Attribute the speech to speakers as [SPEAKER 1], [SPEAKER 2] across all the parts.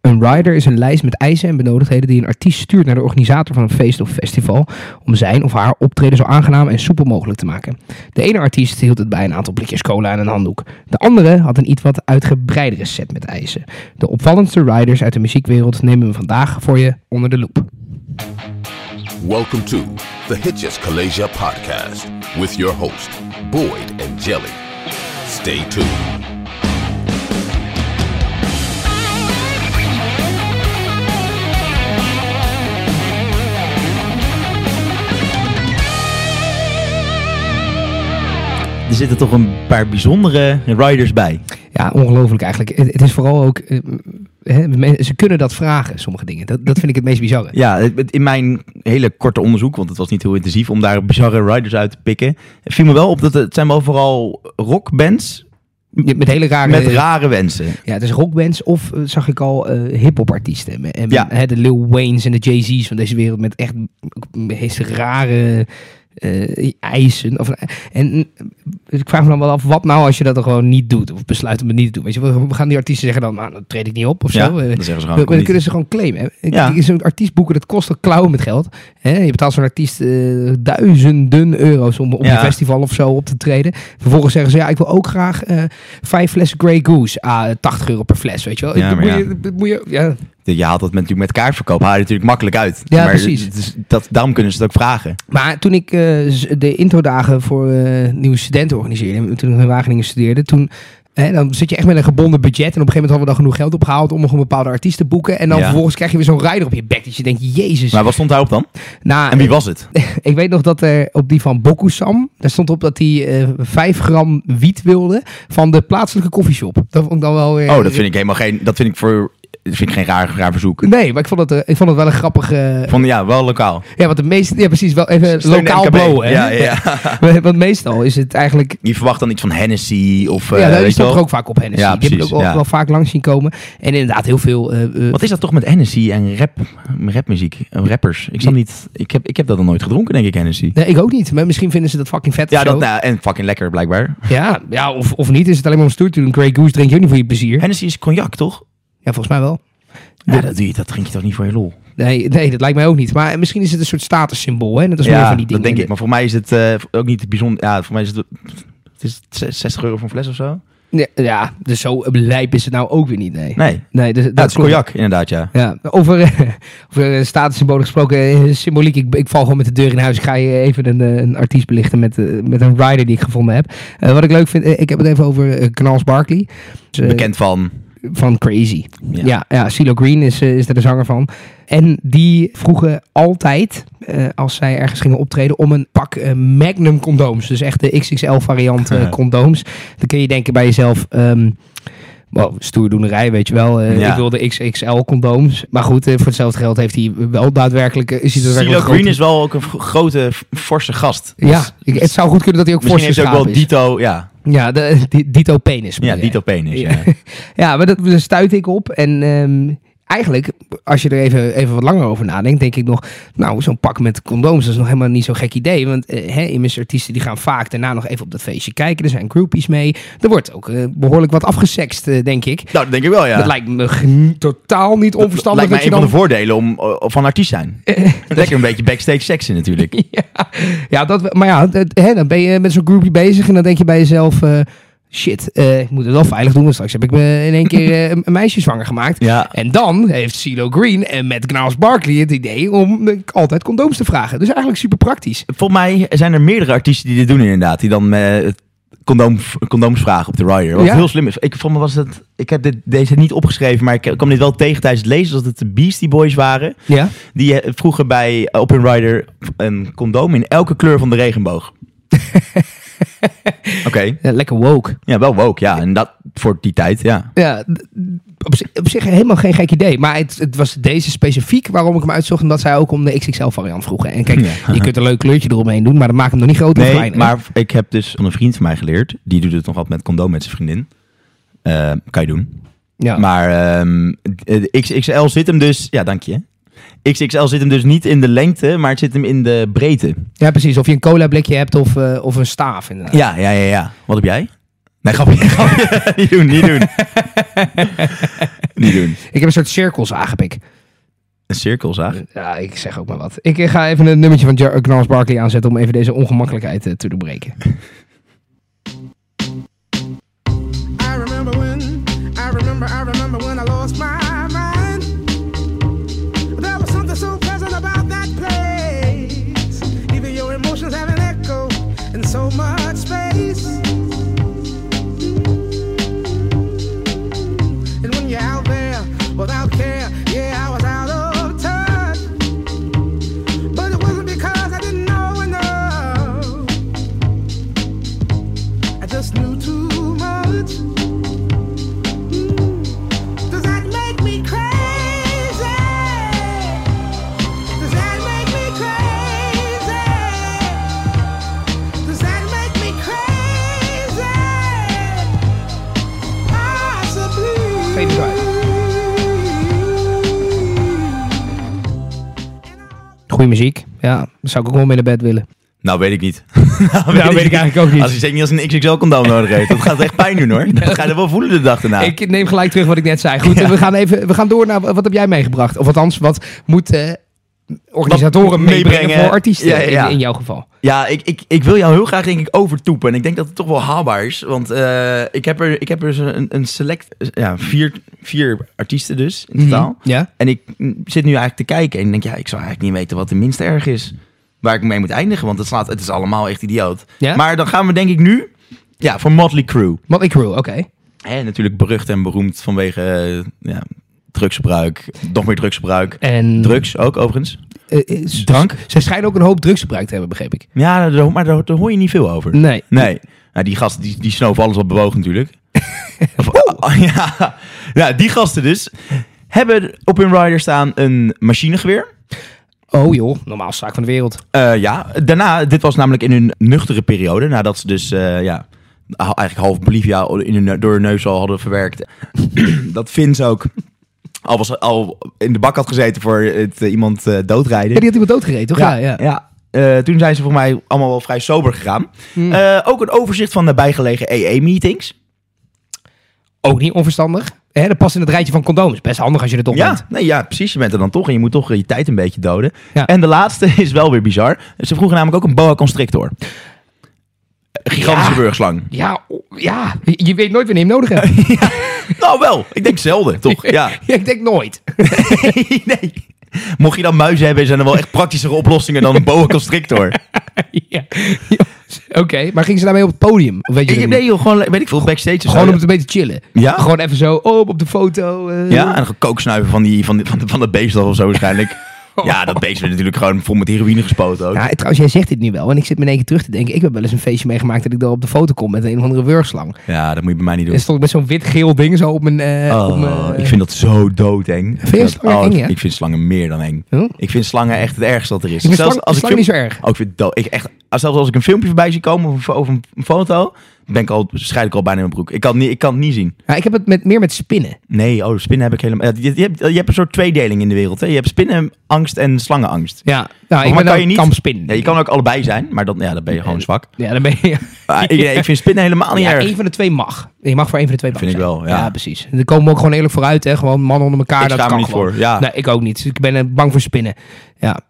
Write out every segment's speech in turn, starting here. [SPEAKER 1] Een rider is een lijst met eisen en benodigdheden die een artiest stuurt naar de organisator van een feest of festival om zijn of haar optreden zo aangenaam en soepel mogelijk te maken. De ene artiest hield het bij een aantal blikjes cola en een handdoek. De andere had een iets wat uitgebreidere set met eisen. De opvallendste riders uit de muziekwereld nemen we vandaag voor je onder de loep.
[SPEAKER 2] Welcome to the Hitches Kalasia podcast with your host, Boyd and Jelly. Stay tuned.
[SPEAKER 3] Er zitten toch een paar bijzondere riders bij.
[SPEAKER 1] Ja, ongelooflijk eigenlijk. Het, het is vooral ook. eh, hè, men- ze kunnen dat vragen, sommige dingen. Dat, dat vind ik het meest bizarre.
[SPEAKER 3] Ja, het- het- in mijn hele korte onderzoek, want het was niet heel intensief om daar bizarre riders uit te pikken, viel me wel op dat het het zijn wel vooral rockbands
[SPEAKER 1] Je- Met hele rare.
[SPEAKER 3] met rare wensen.
[SPEAKER 1] Ja, het is rockbands of eh, zag ik al eh hip-hop artiesten. En, en,
[SPEAKER 3] Ja.
[SPEAKER 1] hè, de Lil Wayne's en de Jay-Z's van deze wereld met echt meest rare eh, eisen. Of, en eh, dus ik vraag me dan wel af, wat nou als je dat dan gewoon niet doet? Of besluit om het niet te doen? Weet je, we, we gaan die artiesten zeggen dan, nou, dan treed ik niet op of
[SPEAKER 3] Ja,
[SPEAKER 1] zo. Eh,
[SPEAKER 3] dan zeggen ze
[SPEAKER 1] maar
[SPEAKER 3] gewoon,
[SPEAKER 1] dan
[SPEAKER 3] kom
[SPEAKER 1] kunnen
[SPEAKER 3] niet.
[SPEAKER 1] ze gewoon claimen. hè. Ik-
[SPEAKER 3] Ah, Ja.
[SPEAKER 1] ik- Zo'n artiest boeken, dat kost een klauwen met geld. Hè? Je betaalt zo'n artiest eh, duizenden euro's om op
[SPEAKER 3] Ja.
[SPEAKER 1] een festival of zo op te treden. Vervolgens zeggen ze, ja, ik wil ook graag eh, vijf flessen Grey Goose. Ah, 80 euro per fles, weet je wel.
[SPEAKER 3] Ja,
[SPEAKER 1] Dat
[SPEAKER 3] maar
[SPEAKER 1] moet
[SPEAKER 3] ja.
[SPEAKER 1] je, dat moet je, ja.
[SPEAKER 3] Je haalt dat met, natuurlijk met kaartverkoop, haal je natuurlijk makkelijk uit.
[SPEAKER 1] Ja,
[SPEAKER 3] maar
[SPEAKER 1] precies.
[SPEAKER 3] het is- dat, daarom kunnen ze het ook vragen.
[SPEAKER 1] Maar toen ik eh, z- de introdagen voor eh, nieuwe studenten organiseerde, toen ik in Wageningen studeerde, toen... Hè, dan zit je echt met een gebonden budget. En op een gegeven moment hadden we dan genoeg geld opgehaald om nog een bepaalde artiest te boeken. En dan
[SPEAKER 3] Ja.
[SPEAKER 1] vervolgens krijg je weer zo'n rider op je bek. Dat je denkt, jezus.
[SPEAKER 3] Maar wat stond daarop dan?
[SPEAKER 1] nou,
[SPEAKER 3] En wie was het?
[SPEAKER 1] Ik weet nog dat er op die van Bokusam, daar stond op dat hij eh 5 gram wiet wilde van de plaatselijke koffieshop. Dat vond ik dan wel weer...
[SPEAKER 3] Oh, dat vind ik helemaal geen, dat vind ik voor, dat vind ik geen raar, raar verzoek.
[SPEAKER 1] Nee, maar ik vond het, eh, ik vond het wel een grappig... eh,
[SPEAKER 3] Van ja, wel lokaal.
[SPEAKER 1] ja, want de meeste... Ja, precies, wel even
[SPEAKER 3] Steun
[SPEAKER 1] lokaal
[SPEAKER 3] MKB.
[SPEAKER 1] blowen. hè?
[SPEAKER 3] Ja, ja.
[SPEAKER 1] Want- Want meestal is het eigenlijk...
[SPEAKER 3] Je verwacht dan iets van Hennessy of... eh,
[SPEAKER 1] ja, daar
[SPEAKER 3] weet je
[SPEAKER 1] stond er
[SPEAKER 3] wel.
[SPEAKER 1] ook vaak op Hennessy.
[SPEAKER 3] Ja,
[SPEAKER 1] die heb ik
[SPEAKER 3] precies,
[SPEAKER 1] ook wel,
[SPEAKER 3] ja.
[SPEAKER 1] wel vaak langs zien komen. En inderdaad heel veel... eh, eh,
[SPEAKER 3] Wat is dat toch met Hennessy en rap, rapmuziek? Eh, Rappers. Ik snap niet. Ik heb, ik heb dat nog nooit gedronken, denk ik, Hennessy.
[SPEAKER 1] nee, ik ook niet. Maar misschien vinden ze dat fucking vet
[SPEAKER 3] Ja,
[SPEAKER 1] of zo.
[SPEAKER 3] dat, nou, en fucking lekker blijkbaar.
[SPEAKER 1] ja, ja of, of niet. Is het alleen maar om stoer te doen. Grey Goose drink je ook niet voor je plezier.
[SPEAKER 3] Hennessy is cognac, toch?
[SPEAKER 1] Ja, volgens mij wel.
[SPEAKER 3] Ja, dat, doe je, dat drink je toch niet voor je lol?
[SPEAKER 1] Nee, nee, dat lijkt mij ook niet. Maar misschien is het een soort statussymbool. Hè? Net als meer
[SPEAKER 3] ja,
[SPEAKER 1] van die dingen.
[SPEAKER 3] dat denk ik. Maar voor mij is het eh, ook niet bijzonder. Ja, voor mij is het... Het is zes- 60 euro voor een fles of zo?
[SPEAKER 1] Nee, ja, dus zo lijp is het nou ook weer niet. Nee,
[SPEAKER 3] Nee. Ja,
[SPEAKER 1] nee dus,
[SPEAKER 3] het is
[SPEAKER 1] klopt.
[SPEAKER 3] cognac, inderdaad, ja.
[SPEAKER 1] Ja, over, eh, over eh, statussymbolen gesproken, eh, symboliek. Ik, ik val gewoon met de deur in huis. Ik ga je even een, eh, een artiest belichten met, eh, met een rider die ik gevonden heb. Eh, wat ik leuk vind, eh, ik heb het even over eh, Knals Barkley. Dus, eh,
[SPEAKER 3] Bekend van...
[SPEAKER 1] van Crazy. Ja,
[SPEAKER 3] Ja.
[SPEAKER 1] ja, CeeLo Green is, eh, is er de zanger van. En die vroegen altijd, eh, als zij ergens gingen optreden, om een pak eh, Magnum condooms. Dus echt de XXL variant eh, condooms. Dan kun je denken bij jezelf... ehm Wow, stoerdoenerij, weet je wel. Eh,
[SPEAKER 3] Ja.
[SPEAKER 1] Ik wil de XXL condooms. Maar goed, eh, voor hetzelfde geld heeft hij wel daadwerkelijk... eh, Is hij
[SPEAKER 3] CeeLo
[SPEAKER 1] daadwerkelijk
[SPEAKER 3] Green
[SPEAKER 1] groot.
[SPEAKER 3] is wel ook een v- grote, f- forse gast.
[SPEAKER 1] Ja,
[SPEAKER 3] Dus
[SPEAKER 1] ik- het zou goed kunnen dat hij ook
[SPEAKER 3] Misschien
[SPEAKER 1] fors
[SPEAKER 3] heeft hij ook wel
[SPEAKER 1] geschapen is.
[SPEAKER 3] Dito... Ja,
[SPEAKER 1] Ja, de, di- Dito penis.
[SPEAKER 3] ja
[SPEAKER 1] bedoel jij.
[SPEAKER 3] Dito Penis,
[SPEAKER 1] Ja.
[SPEAKER 3] ja. Nou,
[SPEAKER 1] Ja, maar dat, daar stuit ik op. En ehm, eigenlijk, als je er even, even wat langer over nadenkt, denk ik nog... Nou, zo'n pak met condooms, dat is nog helemaal niet zo'n gek idee. Want eh, hè, immers artiesten die gaan vaak daarna nog even op dat feestje kijken. Er zijn groupies mee. Er wordt ook eh, behoorlijk wat afgesext, eh, denk ik.
[SPEAKER 3] Nou, dat denk ik wel, ja.
[SPEAKER 1] Dat lijkt me g- totaal niet onverstandig.
[SPEAKER 3] Lijkt mij
[SPEAKER 1] dat je
[SPEAKER 3] een van
[SPEAKER 1] dan... Eh.
[SPEAKER 3] de voordelen om, eh, van artiest zijn. Lekker een beetje backstage seksen natuurlijk.
[SPEAKER 1] Ja, ja dat, we- maar ja, dat- hè, dan ben je met zo'n groepie bezig en dan denk je bij jezelf... eh, Shit, eh, ik moet het wel veilig doen, want straks heb ik me in één keer eh, een een meisje zwanger gemaakt.
[SPEAKER 3] Ja.
[SPEAKER 1] En dan heeft CeeLo Green en met Knaus Barkley het idee om eh, altijd condooms te vragen. Dus eigenlijk super praktisch.
[SPEAKER 3] Volgens mij zijn er meerdere artiesten die dit doen inderdaad. Die dan eh, het condoom, condooms vragen op de rider. Wat
[SPEAKER 1] Ja.
[SPEAKER 3] heel slim is. Ik, vond me was het, ik heb dit, deze niet opgeschreven, maar ik kwam dit wel tegen tijdens het lezen. Dat het de Beastie Boys waren.
[SPEAKER 1] Ja.
[SPEAKER 3] Die eh, vroegen bij Open Rider een condoom in elke kleur van de regenboog. Oké.
[SPEAKER 1] lekker woke.
[SPEAKER 3] Ja, wel woke. Ja, en dat voor die tijd, ja.
[SPEAKER 1] Ja, d- op, zich- op zich helemaal geen gek idee. Maar het, het was deze specifiek waarom ik hem uitzocht. Omdat zij ook om de XXL variant vroegen. En kijk,
[SPEAKER 3] Ja.
[SPEAKER 1] je kunt een leuk kleurtje eromheen doen, maar dat maakt hem nog niet groter of
[SPEAKER 3] Nee,
[SPEAKER 1] kleiner.
[SPEAKER 3] maar ik heb dus van een vriend van mij geleerd. Die doet het nog altijd met condoom met zijn vriendin. Eh, kan je doen.
[SPEAKER 1] Ja.
[SPEAKER 3] Maar ehm, de XXL zit hem dus... Ja, dank je. XXL zit hem dus niet in de lengte, maar het zit hem in de breedte.
[SPEAKER 1] ja, precies. Of je een cola blikje hebt of, eh, of een staaf inderdaad.
[SPEAKER 3] Ja, ja, ja, ja. Wat heb jij? Nee, grapje. grapje. niet doen, niet doen. Niet doen.
[SPEAKER 1] Ik heb een soort cirkelzaag, heb ik.
[SPEAKER 3] Een cirkelzaag.
[SPEAKER 1] Ja, ik zeg ook maar wat. Ik eh, ga even een nummertje van Jar- Gnarls Barkley aanzetten om even deze ongemakkelijkheid eh, te doorbreken.
[SPEAKER 4] I remember when, I remember, I remember when I lost my mind. There was something so pleasant about that place. Even your emotions have an echo in so much space. And when you're out there without care, yeah, I was out of touch. But it wasn't because I didn't know enough. I just knew too much. Mm. Does that make me crazy? Does that make me crazy? Does that make me crazy? Possibly.
[SPEAKER 1] Same Goeie muziek. Ja, zou ik ook wel mee naar bed willen.
[SPEAKER 3] Nou, weet ik niet. nou,
[SPEAKER 1] weet ik eigenlijk ook niet.
[SPEAKER 3] Als je zeker niet als een XXL-condoom nodig heeft, dat gaat echt pijn doen hoor. Dat ga je wel voelen de dag daarna.
[SPEAKER 1] Ik neem gelijk terug wat ik net zei. Goed, we gaan even we gaan door naar wat heb jij meegebracht? Of althans, wat moeten eh, organisatoren
[SPEAKER 3] Wat
[SPEAKER 1] meebrengen,
[SPEAKER 3] meebrengen.
[SPEAKER 1] voor artiesten
[SPEAKER 3] Ja, ja, ja.
[SPEAKER 1] In, in jouw geval?
[SPEAKER 3] Ja, ik, ik, ik wil jou heel graag denk ik overtoepen. En ik denk dat het toch wel haalbaar is. Want eh, ik heb er, ik heb er zo een, een select... Ja, vier, vier artiesten dus in
[SPEAKER 1] Mm-hmm.
[SPEAKER 3] totaal.
[SPEAKER 1] Mhm. Ja?
[SPEAKER 3] En ik mm, zit nu eigenlijk te kijken en denk, ja, ik zou eigenlijk niet weten wat de minste erg is. Waar ik mee moet eindigen, want het, slaat, het is allemaal echt idioot.
[SPEAKER 1] Ja?
[SPEAKER 3] Maar dan gaan we denk ik nu ja, voor Motley Crue.
[SPEAKER 1] Motley Crue, oké.
[SPEAKER 3] Hè, natuurlijk berucht en beroemd vanwege eh, ja, drugsgebruik, nog meer drugsgebruik.
[SPEAKER 1] En
[SPEAKER 3] Drugs ook overigens.
[SPEAKER 1] eh, eh, s-
[SPEAKER 3] Drank?
[SPEAKER 1] s- Ze schijnen ook een hoop drugs gebruikt te hebben, begreep ik.
[SPEAKER 3] Ja, daar- maar daar, daar hoor je niet veel over.
[SPEAKER 1] Nee.
[SPEAKER 3] Nee. Nou, die gast die, die snoof alles wat bewoog natuurlijk. Of- oh, ja. ja, die gasten dus hebben op hun rider staan een machinegeweer.
[SPEAKER 1] Oh joh, normaal zaak van de wereld.
[SPEAKER 3] Eh, ja, daarna, dit was namelijk in hun nuchtere periode, nadat ze dus eh, ja, ha- eigenlijk half Bolivia in hun, ne- door hun neus al hadden verwerkt. dat Vins ook al, was, al in de bak had gezeten voor het, eh, iemand eh,
[SPEAKER 1] Ja, die
[SPEAKER 3] doodrijden.
[SPEAKER 1] had iemand doodgereden, toch? Ja, ja.
[SPEAKER 3] Eh, toen zijn ze volgens mij allemaal wel vrij sober gegaan. Eh, ook een overzicht van E nabijgelegen EE-meetings.
[SPEAKER 1] Ook niet onverstandig. Hè, dat past in het rijtje van condooms. Best handig als je het op
[SPEAKER 3] Ja, nee, ja, precies. Je bent er dan toch en je moet toch eh, je tijd een beetje doden.
[SPEAKER 1] Ja.
[SPEAKER 3] En de laatste is wel weer bizar. Ze vroegen namelijk ook een boa constrictor. Gigantische
[SPEAKER 1] Ja.
[SPEAKER 3] burgslang.
[SPEAKER 1] Ja, o- ja, je weet nooit wanneer je hem nodig hebt.
[SPEAKER 3] Nou wel, ik denk zelden, toch? Ja.
[SPEAKER 1] ik denk nooit.
[SPEAKER 3] nee. Mocht je dan muizen hebben, zijn er wel echt praktischere oplossingen dan een boa constrictor.
[SPEAKER 1] Ja. Ja. Oké, maar ging ze daarmee op het podium? Of weet je dat
[SPEAKER 3] ik heb
[SPEAKER 1] niet?
[SPEAKER 3] nee, joh, gewoon weet ik veel backstage. of zo.
[SPEAKER 1] Gewoon om het een beetje chillen.
[SPEAKER 3] Ja?
[SPEAKER 1] Gewoon even zo, oh, op de foto. eh.
[SPEAKER 3] ja, en dan gewoon kooksnuiven van, die, van, die- van, van dat beest of zo waarschijnlijk. Ja, dat beest werd natuurlijk gewoon vol met heroïne gespoten ook.
[SPEAKER 1] Ja, trouwens, jij zegt dit nu wel. En ik zit me in één keer terug te denken. Ik heb wel eens een feestje meegemaakt dat ik daar op de foto kom met een of andere wurgslang.
[SPEAKER 3] Ja, dat moet je bij mij niet
[SPEAKER 1] En
[SPEAKER 3] doen.
[SPEAKER 1] stond ik met zo'n wit-geel ding zo op mijn... eh, op
[SPEAKER 3] Oh,
[SPEAKER 1] mijn-
[SPEAKER 3] ik vind dat zo doodeng.
[SPEAKER 1] je
[SPEAKER 3] Dat-
[SPEAKER 1] slangen
[SPEAKER 3] oh,
[SPEAKER 1] eng, ja?
[SPEAKER 3] Ik vind slangen meer dan eng.
[SPEAKER 1] Huh?
[SPEAKER 3] Ik vind slangen echt het ergste wat er is.
[SPEAKER 1] vind slangen- slangen
[SPEAKER 3] film-
[SPEAKER 1] niet zo erg.
[SPEAKER 3] Oh, ik vind het dood. Ik echt, als- zelfs als ik een filmpje voorbij zie komen of, of een, een foto, ben ik al, scheid ik al bijna in mijn broek. Ik kan, het niet, ik kan het niet zien.
[SPEAKER 1] Ja, ik heb het met, meer met spinnen.
[SPEAKER 3] Nee, oh, spinnen heb ik helemaal... ja, Je, je, hebt, je hebt een soort tweedeling in de wereld. Hè? Je hebt spinnenangst en slangenangst.
[SPEAKER 1] Ja, nou, ik
[SPEAKER 3] maar
[SPEAKER 1] ben
[SPEAKER 3] kan
[SPEAKER 1] ook
[SPEAKER 3] je niet-
[SPEAKER 1] kampspin.
[SPEAKER 3] Ja, je kan ook allebei zijn, maar dan, ja, dan ben je gewoon zwak.
[SPEAKER 1] Ja, dan ben je...
[SPEAKER 3] Maar ik, nee, ik vind spinnen helemaal niet
[SPEAKER 1] Ja,
[SPEAKER 3] Oh, erg.
[SPEAKER 1] één van de twee mag. Je mag voor één van de twee bang
[SPEAKER 3] Vind ik
[SPEAKER 1] zijn.
[SPEAKER 3] wel, ja.
[SPEAKER 1] precies. Daar komen we ook gewoon eerlijk voor uit, hè. Gewoon mannen onder elkaar,
[SPEAKER 3] Ik
[SPEAKER 1] dat
[SPEAKER 3] schaam me
[SPEAKER 1] kan
[SPEAKER 3] niet
[SPEAKER 1] gewoon.
[SPEAKER 3] voor, ja.
[SPEAKER 1] Nee, ik ook niet. Ik ben eh, bang voor spinnen. Ja.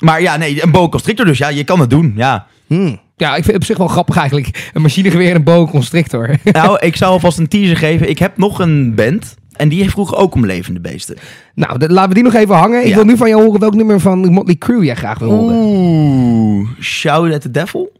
[SPEAKER 3] Maar ja, nee, een boa constrictor dus. Ja, je kan het doen, ja.
[SPEAKER 1] Hmm. Ja, ik vind het op zich wel grappig eigenlijk. Een machinegeweer en een boa constrictor.
[SPEAKER 3] Nou, ik zou alvast een teaser geven. Ik heb nog een band. En die vroeg ook om levende beesten.
[SPEAKER 1] nou, dat- laten we die nog even hangen. Ik
[SPEAKER 3] Ja.
[SPEAKER 1] wil nu van jou horen welk nummer van Motley Crue jij graag wil horen.
[SPEAKER 3] Oeh, Shout at the Devil?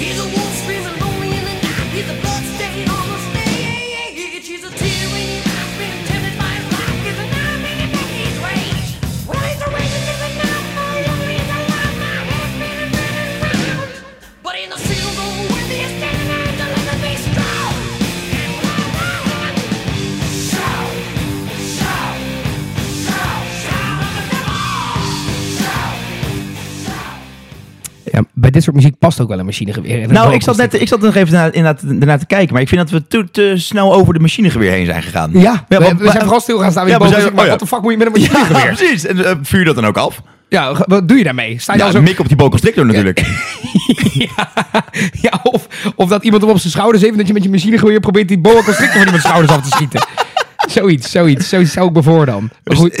[SPEAKER 5] He's a wolf screaming lonely in the night. He's a blood stain on the stage. He's a tear in his eye, being tempted by his life. He's a nightmare in his rage. Well, he's a raging in the night, my lonely is alive. My head's spinning, spinning round. But in the field over with me is standing out to let me be strong. And when I shout, shout, shout, shout.
[SPEAKER 1] dit soort muziek past ook wel een machinegeweer. in een
[SPEAKER 3] Nou, ik zat, net,
[SPEAKER 1] balkenstuk.
[SPEAKER 3] ik zat nog even na, inderdaad daarna te kijken. Maar ik vind dat we te, te snel over de machinegeweer heen zijn gegaan.
[SPEAKER 1] Ja, we,
[SPEAKER 3] want-
[SPEAKER 1] we zijn vooral stil gaan staan.
[SPEAKER 3] Ja,
[SPEAKER 1] Ja,
[SPEAKER 3] we
[SPEAKER 1] maar
[SPEAKER 3] zijn- oh ja.
[SPEAKER 1] Wat de fuck moet je met een
[SPEAKER 3] Ja,
[SPEAKER 1] machinegeweer? Ja,
[SPEAKER 3] precies. En eh, vuur dat dan ook af.
[SPEAKER 1] ge- wat doe je daarmee? Sta je
[SPEAKER 3] Ja,
[SPEAKER 1] dan zo...
[SPEAKER 3] mik op die bokelstrictor natuurlijk.
[SPEAKER 1] ja, of, of dat iemand hem op zijn schouders heeft... en dat je met je machinegeweer probeert die boa constrictor van iemands schouders af te schieten. Zoiets, zoiets. Zoiets zou ik me voor dan. Maar goed,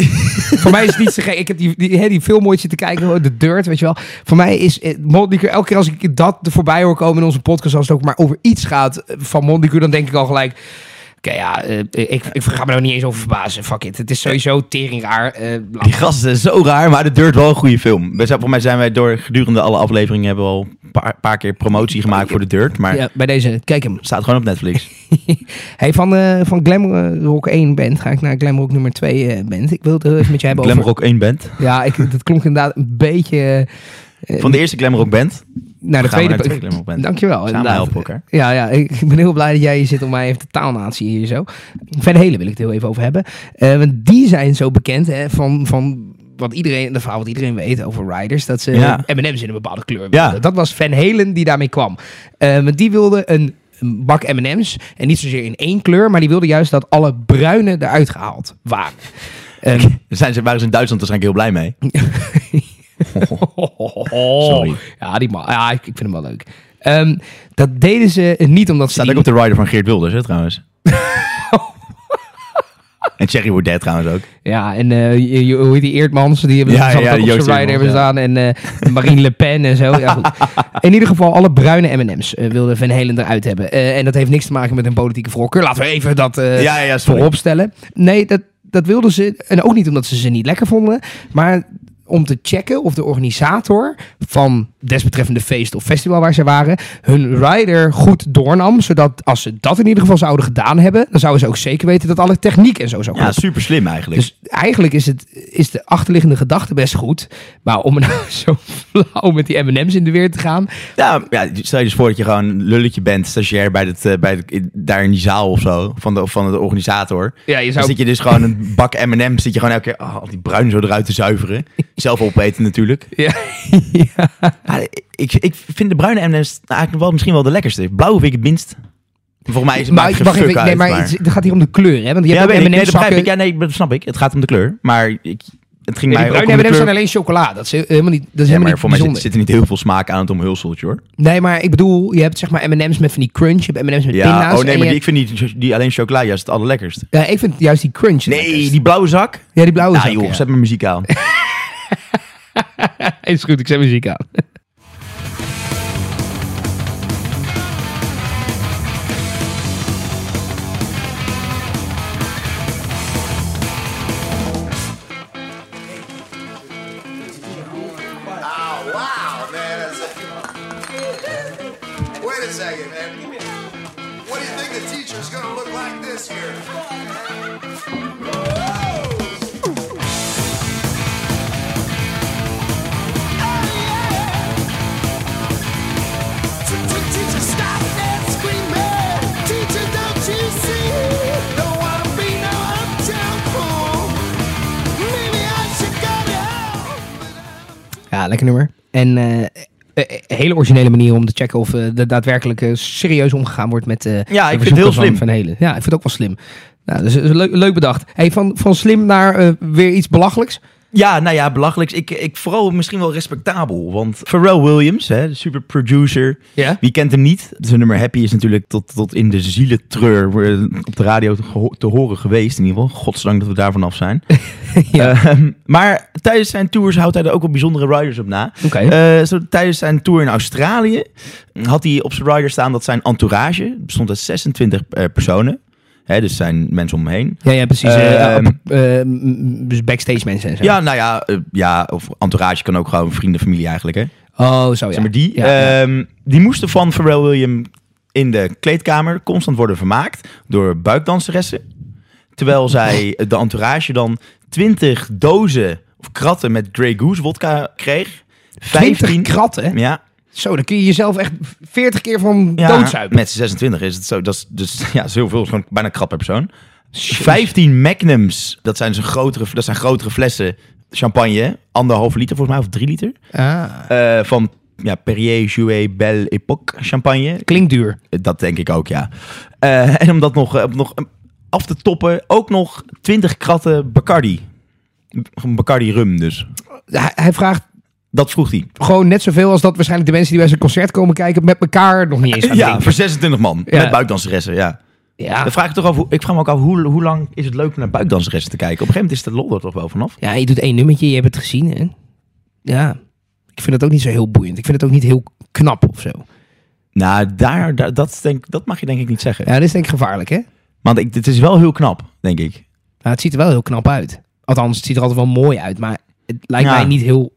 [SPEAKER 1] voor mij is het niet zo gek. Ik heb die, die, hè, die film ooit zitten kijken, hoor, The Dirt, weet je wel. Voor mij is eh, Mondicu, elke keer als ik dat er voorbij hoor komen in onze podcast... als het ook maar over iets gaat eh, van Mondicu, dan denk ik al gelijk... Oké, ja, eh, ik, ik ga me er niet eens over verbazen. Fuck it. Het is sowieso tering raar. eh, laat
[SPEAKER 3] Die gast is zo raar, maar de Dirt wel een goede film. We zijn, voor mij zijn wij door gedurende alle afleveringen hebben we al een paar, paar keer promotie gemaakt voor de Dirt. Maar
[SPEAKER 1] Ja, bij deze, kijk hem.
[SPEAKER 3] staat gewoon op Netflix.
[SPEAKER 1] Hey, van, eh van Glamrock 1 band ga ik naar Glamrock nummer 2 eh, band. Ik wil het heel even met je hebben over...
[SPEAKER 3] Glamrock 1 band.
[SPEAKER 1] Ja, ik, dat klonk inderdaad een beetje eh,
[SPEAKER 3] Van de eerste Glamrock band.
[SPEAKER 1] naar de
[SPEAKER 3] gaan we
[SPEAKER 1] tweede...
[SPEAKER 3] naar de tweede Glamrock band.
[SPEAKER 1] Dankjewel.
[SPEAKER 3] Samen
[SPEAKER 1] inderdaad.
[SPEAKER 3] helpen elkaar.
[SPEAKER 1] Ja, ja, ik ben heel blij dat jij hier zit om mij even de taalnatie hier zo. Van Helen wil ik het heel even over hebben. Eh, want die zijn zo bekend hè, van... van wat iedereen, de verhaal wat iedereen weet over riders, dat ze
[SPEAKER 3] Ja.
[SPEAKER 1] M&M's in een bepaalde kleur
[SPEAKER 3] Ja.
[SPEAKER 1] wilden. Dat was Van Helen die daarmee kwam. Eh, want die wilde een, een bak M&M's en niet zozeer in één kleur, maar die wilde juist dat alle bruine eruit gehaald waren. Ehm,
[SPEAKER 3] Daar zijn ze, waren ze in Duitsland waarschijnlijk heel blij mee. Sorry.
[SPEAKER 1] Ja, die ma- ja, ik, ik vind hem wel leuk. Ehm, dat deden ze niet omdat ze.
[SPEAKER 3] Staat
[SPEAKER 1] die-
[SPEAKER 3] ook op de rider van Geert Wilders, hè, trouwens. en Thierry Baudet trouwens ook.
[SPEAKER 1] Ja, en eh, je- je- hoe heet die Eertmans? Die hebben
[SPEAKER 3] Ja,
[SPEAKER 1] ja,
[SPEAKER 3] ja,
[SPEAKER 1] ook op
[SPEAKER 3] Joost
[SPEAKER 1] zijn rider hebben
[SPEAKER 3] Eerdmans, ja.
[SPEAKER 1] staan. En eh, Marine Le Pen en zo. Ja, goed. In ieder geval, alle bruine M&M's eh, wilde Van Helen eruit hebben. Eh, en dat heeft niks te maken met een politieke voorkeur. Laten we even dat eh
[SPEAKER 3] Ja, ja, sorry.
[SPEAKER 1] voorop stellen. Nee, dat, dat wilden ze. En ook niet omdat ze ze niet lekker vonden. Maar om te checken of de organisator van desbetreffende feest of festival waar ze waren, hun rider goed doornam. Zodat als ze dat in ieder geval zouden gedaan hebben, dan zouden ze ook zeker weten dat alle techniek en zo zou
[SPEAKER 3] Ja,
[SPEAKER 1] kloppen.
[SPEAKER 3] super slim eigenlijk.
[SPEAKER 1] Dus eigenlijk is, het, is de achterliggende gedachte best goed. Maar om nou zo flauw met die M&M's in de weer te gaan.
[SPEAKER 3] Ja, ja, stel je dus voor dat je gewoon een lulletje bent, stagiair bij het, eh, bij het- in- daar in die zaal of zo, van de, van de organisator.
[SPEAKER 1] Ja, je
[SPEAKER 3] Dan
[SPEAKER 1] zou...
[SPEAKER 3] zit je dus gewoon een bak M&M's, zit je gewoon elke keer ah, al die bruin zo eruit te zuiveren. Zelf opeten natuurlijk.
[SPEAKER 1] Ja,
[SPEAKER 3] Ja, ik, ik vind de bruine M&M's eigenlijk wel, misschien wel de lekkerste. Blauw vind ik het minst. Volgens mij is het
[SPEAKER 1] maar,
[SPEAKER 3] maakt geen
[SPEAKER 1] wacht
[SPEAKER 3] fuck
[SPEAKER 1] even, nee,
[SPEAKER 3] uit,
[SPEAKER 1] maar
[SPEAKER 3] maar-
[SPEAKER 1] het is- het gaat hier om de kleur, hè? Want je
[SPEAKER 3] Ja,
[SPEAKER 1] hebt
[SPEAKER 3] weet
[SPEAKER 1] ook
[SPEAKER 3] ik. Nee,
[SPEAKER 1] M&M's
[SPEAKER 3] dat begrijp
[SPEAKER 1] zakken.
[SPEAKER 3] ik. Ja, nee, dat snap ik. Het gaat om de kleur. Maar ik, het ging
[SPEAKER 1] Ja,
[SPEAKER 3] mij
[SPEAKER 1] die
[SPEAKER 3] ook om de
[SPEAKER 1] bruine M&M's
[SPEAKER 3] kleur.
[SPEAKER 1] zijn alleen chocola. Dat is he- helemaal niet, dat is
[SPEAKER 3] Ja,
[SPEAKER 1] helemaal
[SPEAKER 3] maar
[SPEAKER 1] niet
[SPEAKER 3] voor mij zit,
[SPEAKER 1] bijzonder.
[SPEAKER 3] zit er niet heel veel smaak aan het omhulseltje hoor.
[SPEAKER 1] Nee, maar ik bedoel, je hebt zeg maar M&M's met van die crunch. Je hebt M&M's met
[SPEAKER 3] Ja,
[SPEAKER 1] pinda's.
[SPEAKER 3] oh nee,
[SPEAKER 1] en
[SPEAKER 3] maar
[SPEAKER 1] je-
[SPEAKER 3] die, ik vind die, die alleen chocola juist het allerlekkerst.
[SPEAKER 1] Ja, ik vind juist die crunch. het
[SPEAKER 3] Nee,
[SPEAKER 1] lekkerst.
[SPEAKER 3] die blauwe zak.
[SPEAKER 1] Ja, die blauwe
[SPEAKER 3] Nou
[SPEAKER 1] zakken,
[SPEAKER 3] joh,
[SPEAKER 1] ja.
[SPEAKER 3] zet mijn muziek aan.
[SPEAKER 1] Is goed, ik zet muziek aan.
[SPEAKER 6] Oh, wow, man. That's Wait a second, man. What do you think the teacher's gonna look like this year?
[SPEAKER 5] Teacher, stop that screaming. Teacher, don't you see? Don't wanna be no uptown fool. Maybe I should go to
[SPEAKER 1] Ja, lekker nummer. En eh, eh, eh, hele originele manier om te checken of eh, er daadwerkelijk eh, serieus omgegaan wordt met eh de
[SPEAKER 3] vind het
[SPEAKER 1] verzoeken
[SPEAKER 3] heel
[SPEAKER 1] van,
[SPEAKER 3] slim.
[SPEAKER 1] Van Helen. Ja, ik vind het ook wel slim. Nou, dus, is leuk, leuk bedacht. Hey, van, van slim naar eh, weer iets belachelijks.
[SPEAKER 3] Ja, nou ja, belachelijk. Ik, ik vooral misschien wel respectabel. Want Pharrell Williams, hè, de super producer.
[SPEAKER 1] Ja.
[SPEAKER 3] Wie kent hem niet? Zijn nummer Happy is natuurlijk tot, tot in de zielentreur eh, op de radio te, geho- te horen geweest. In ieder geval. Godzijdank dat we daarvan af zijn. Ehm, maar tijdens zijn tours houdt hij er ook wel bijzondere riders op na.
[SPEAKER 1] Oké.
[SPEAKER 3] Eh, zo, tijdens zijn tour in Australië hm, had hij op zijn rider staan dat zijn entourage bestond uit 26 eh, personen. Hè, dus zijn mensen om hem heen.
[SPEAKER 1] Ja, ja precies.
[SPEAKER 3] Eh,
[SPEAKER 1] eh, op- eh, m- dus backstage mensen en zo.
[SPEAKER 3] Ja, nou ja, eh, ja, of entourage kan ook gewoon vrienden, familie eigenlijk. Hè?
[SPEAKER 1] Oh, zo ja.
[SPEAKER 3] Zeg maar die.
[SPEAKER 1] Ja, ja.
[SPEAKER 3] ehm, die moesten van Pharrell William in de kleedkamer constant worden vermaakt door buikdanseressen. Terwijl zij de entourage dan 20 dozen of kratten met Grey Goose wodka kreeg.
[SPEAKER 1] 20
[SPEAKER 3] 15
[SPEAKER 1] kratten.
[SPEAKER 3] Ja,
[SPEAKER 1] Zo, dan kun je jezelf echt 40 keer van
[SPEAKER 3] ja
[SPEAKER 1] doodzuipen.
[SPEAKER 3] met z'n 26 is het zo. Dat is, dus, ja, dat is heel veel. is gewoon bijna een krap per persoon. 15 magnums, dat zijn, zijn, grotere, dat zijn grotere flessen champagne. Anderhalve liter volgens mij, of drie liter.
[SPEAKER 1] Ah.
[SPEAKER 3] eh, van ja, Perrier Jouet Belle Époque champagne.
[SPEAKER 1] Klinkt duur.
[SPEAKER 3] Dat denk ik ook, ja. Eh, en om dat nog, eh, om nog af te toppen, ook nog 20 kratten Bacardi. Bacardi rum dus.
[SPEAKER 1] Hij, hij vraagt
[SPEAKER 3] Dat vroeg hij.
[SPEAKER 1] gewoon net zoveel als dat waarschijnlijk de mensen die bij zijn concert komen kijken met elkaar nog niet eens gaan
[SPEAKER 3] Ja,
[SPEAKER 1] drinken.
[SPEAKER 3] voor 26 man.
[SPEAKER 1] Ja.
[SPEAKER 3] Met buikdanseressen, ja.
[SPEAKER 1] Ja.
[SPEAKER 3] Dan vraag ik, toch af, hoe- ik vraag me ook af, hoe, hoe lang is het leuk om naar buikdanseressen te kijken? Op een gegeven moment is de lol er toch wel vanaf?
[SPEAKER 1] ja, je doet één nummertje, je hebt het gezien. Hè? Ja. Ik vind het ook niet zo heel boeiend. Ik vind het ook niet heel knap of zo.
[SPEAKER 3] Nou, daar, daar, dat, denk, dat mag je denk ik niet zeggen.
[SPEAKER 1] Ja, dat is denk ik gevaarlijk, hè?
[SPEAKER 3] Want ik, het is wel heel knap, denk ik.
[SPEAKER 1] Nou, het ziet er wel heel knap uit. Althans, het ziet er altijd wel mooi uit, maar het lijkt
[SPEAKER 3] Ja.
[SPEAKER 1] mij niet heel...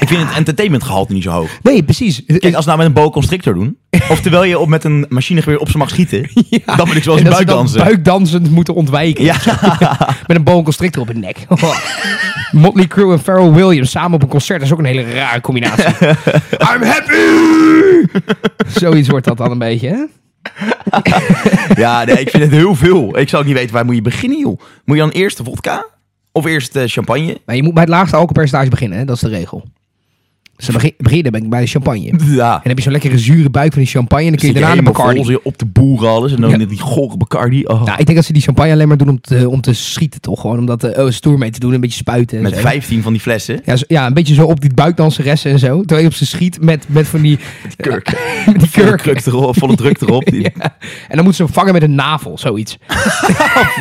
[SPEAKER 3] Ik vind het entertainment gehalte niet zo hoog.
[SPEAKER 1] Nee, precies.
[SPEAKER 3] Kijk, als we nou met een boa constrictor doen, of terwijl je op met een machinegeweer op ze mag schieten, dan ben ik
[SPEAKER 1] En
[SPEAKER 3] zoals een
[SPEAKER 1] dat ze dan
[SPEAKER 3] buikdanser.
[SPEAKER 1] buikdansend moeten ontwijken.
[SPEAKER 3] Ja.
[SPEAKER 1] Met een boa constrictor op hun nek. Oh. Motley Crue en Pharrell Williams samen op een concert. Dat is ook een hele rare combinatie. I'm happy! Zoiets wordt dat dan een beetje, hè?
[SPEAKER 3] Ja, nee, ik vind het heel veel. Ik zou ook niet weten waar moet je beginnen, joh. Moet je dan eerst de vodka? Of eerst eh, champagne?
[SPEAKER 1] Maar je moet bij het laagste alcoholpercentage beginnen, hè? Dat is de regel. Dus dan begin, begin je bij- bij de champagne. En
[SPEAKER 3] Ja.
[SPEAKER 1] dan heb je zo'n lekkere zure buik van die champagne. En dan kun je daarna de Bacardi.
[SPEAKER 3] Vol, op de boeren alles. En dan
[SPEAKER 1] Ja.
[SPEAKER 3] net die gore Bacardi. Oh.
[SPEAKER 1] Nou, ik denk dat ze die champagne alleen maar doen om te, om te schieten, toch? Gewoon om dat eh, oh, stoer mee te doen, een beetje spuiten. En
[SPEAKER 3] met
[SPEAKER 1] zo.
[SPEAKER 3] 15 van die flessen.
[SPEAKER 1] Ja, zo- ja, een beetje zo op die buikdanseressen en zo. Terwijl je op ze schiet met, met van die...
[SPEAKER 3] Kurk.
[SPEAKER 1] Met Eh, die
[SPEAKER 3] Volle,
[SPEAKER 1] kurk.
[SPEAKER 3] druk erop, volle druk erop. Die
[SPEAKER 1] En dan moeten ze hem vangen met een navel, zoiets.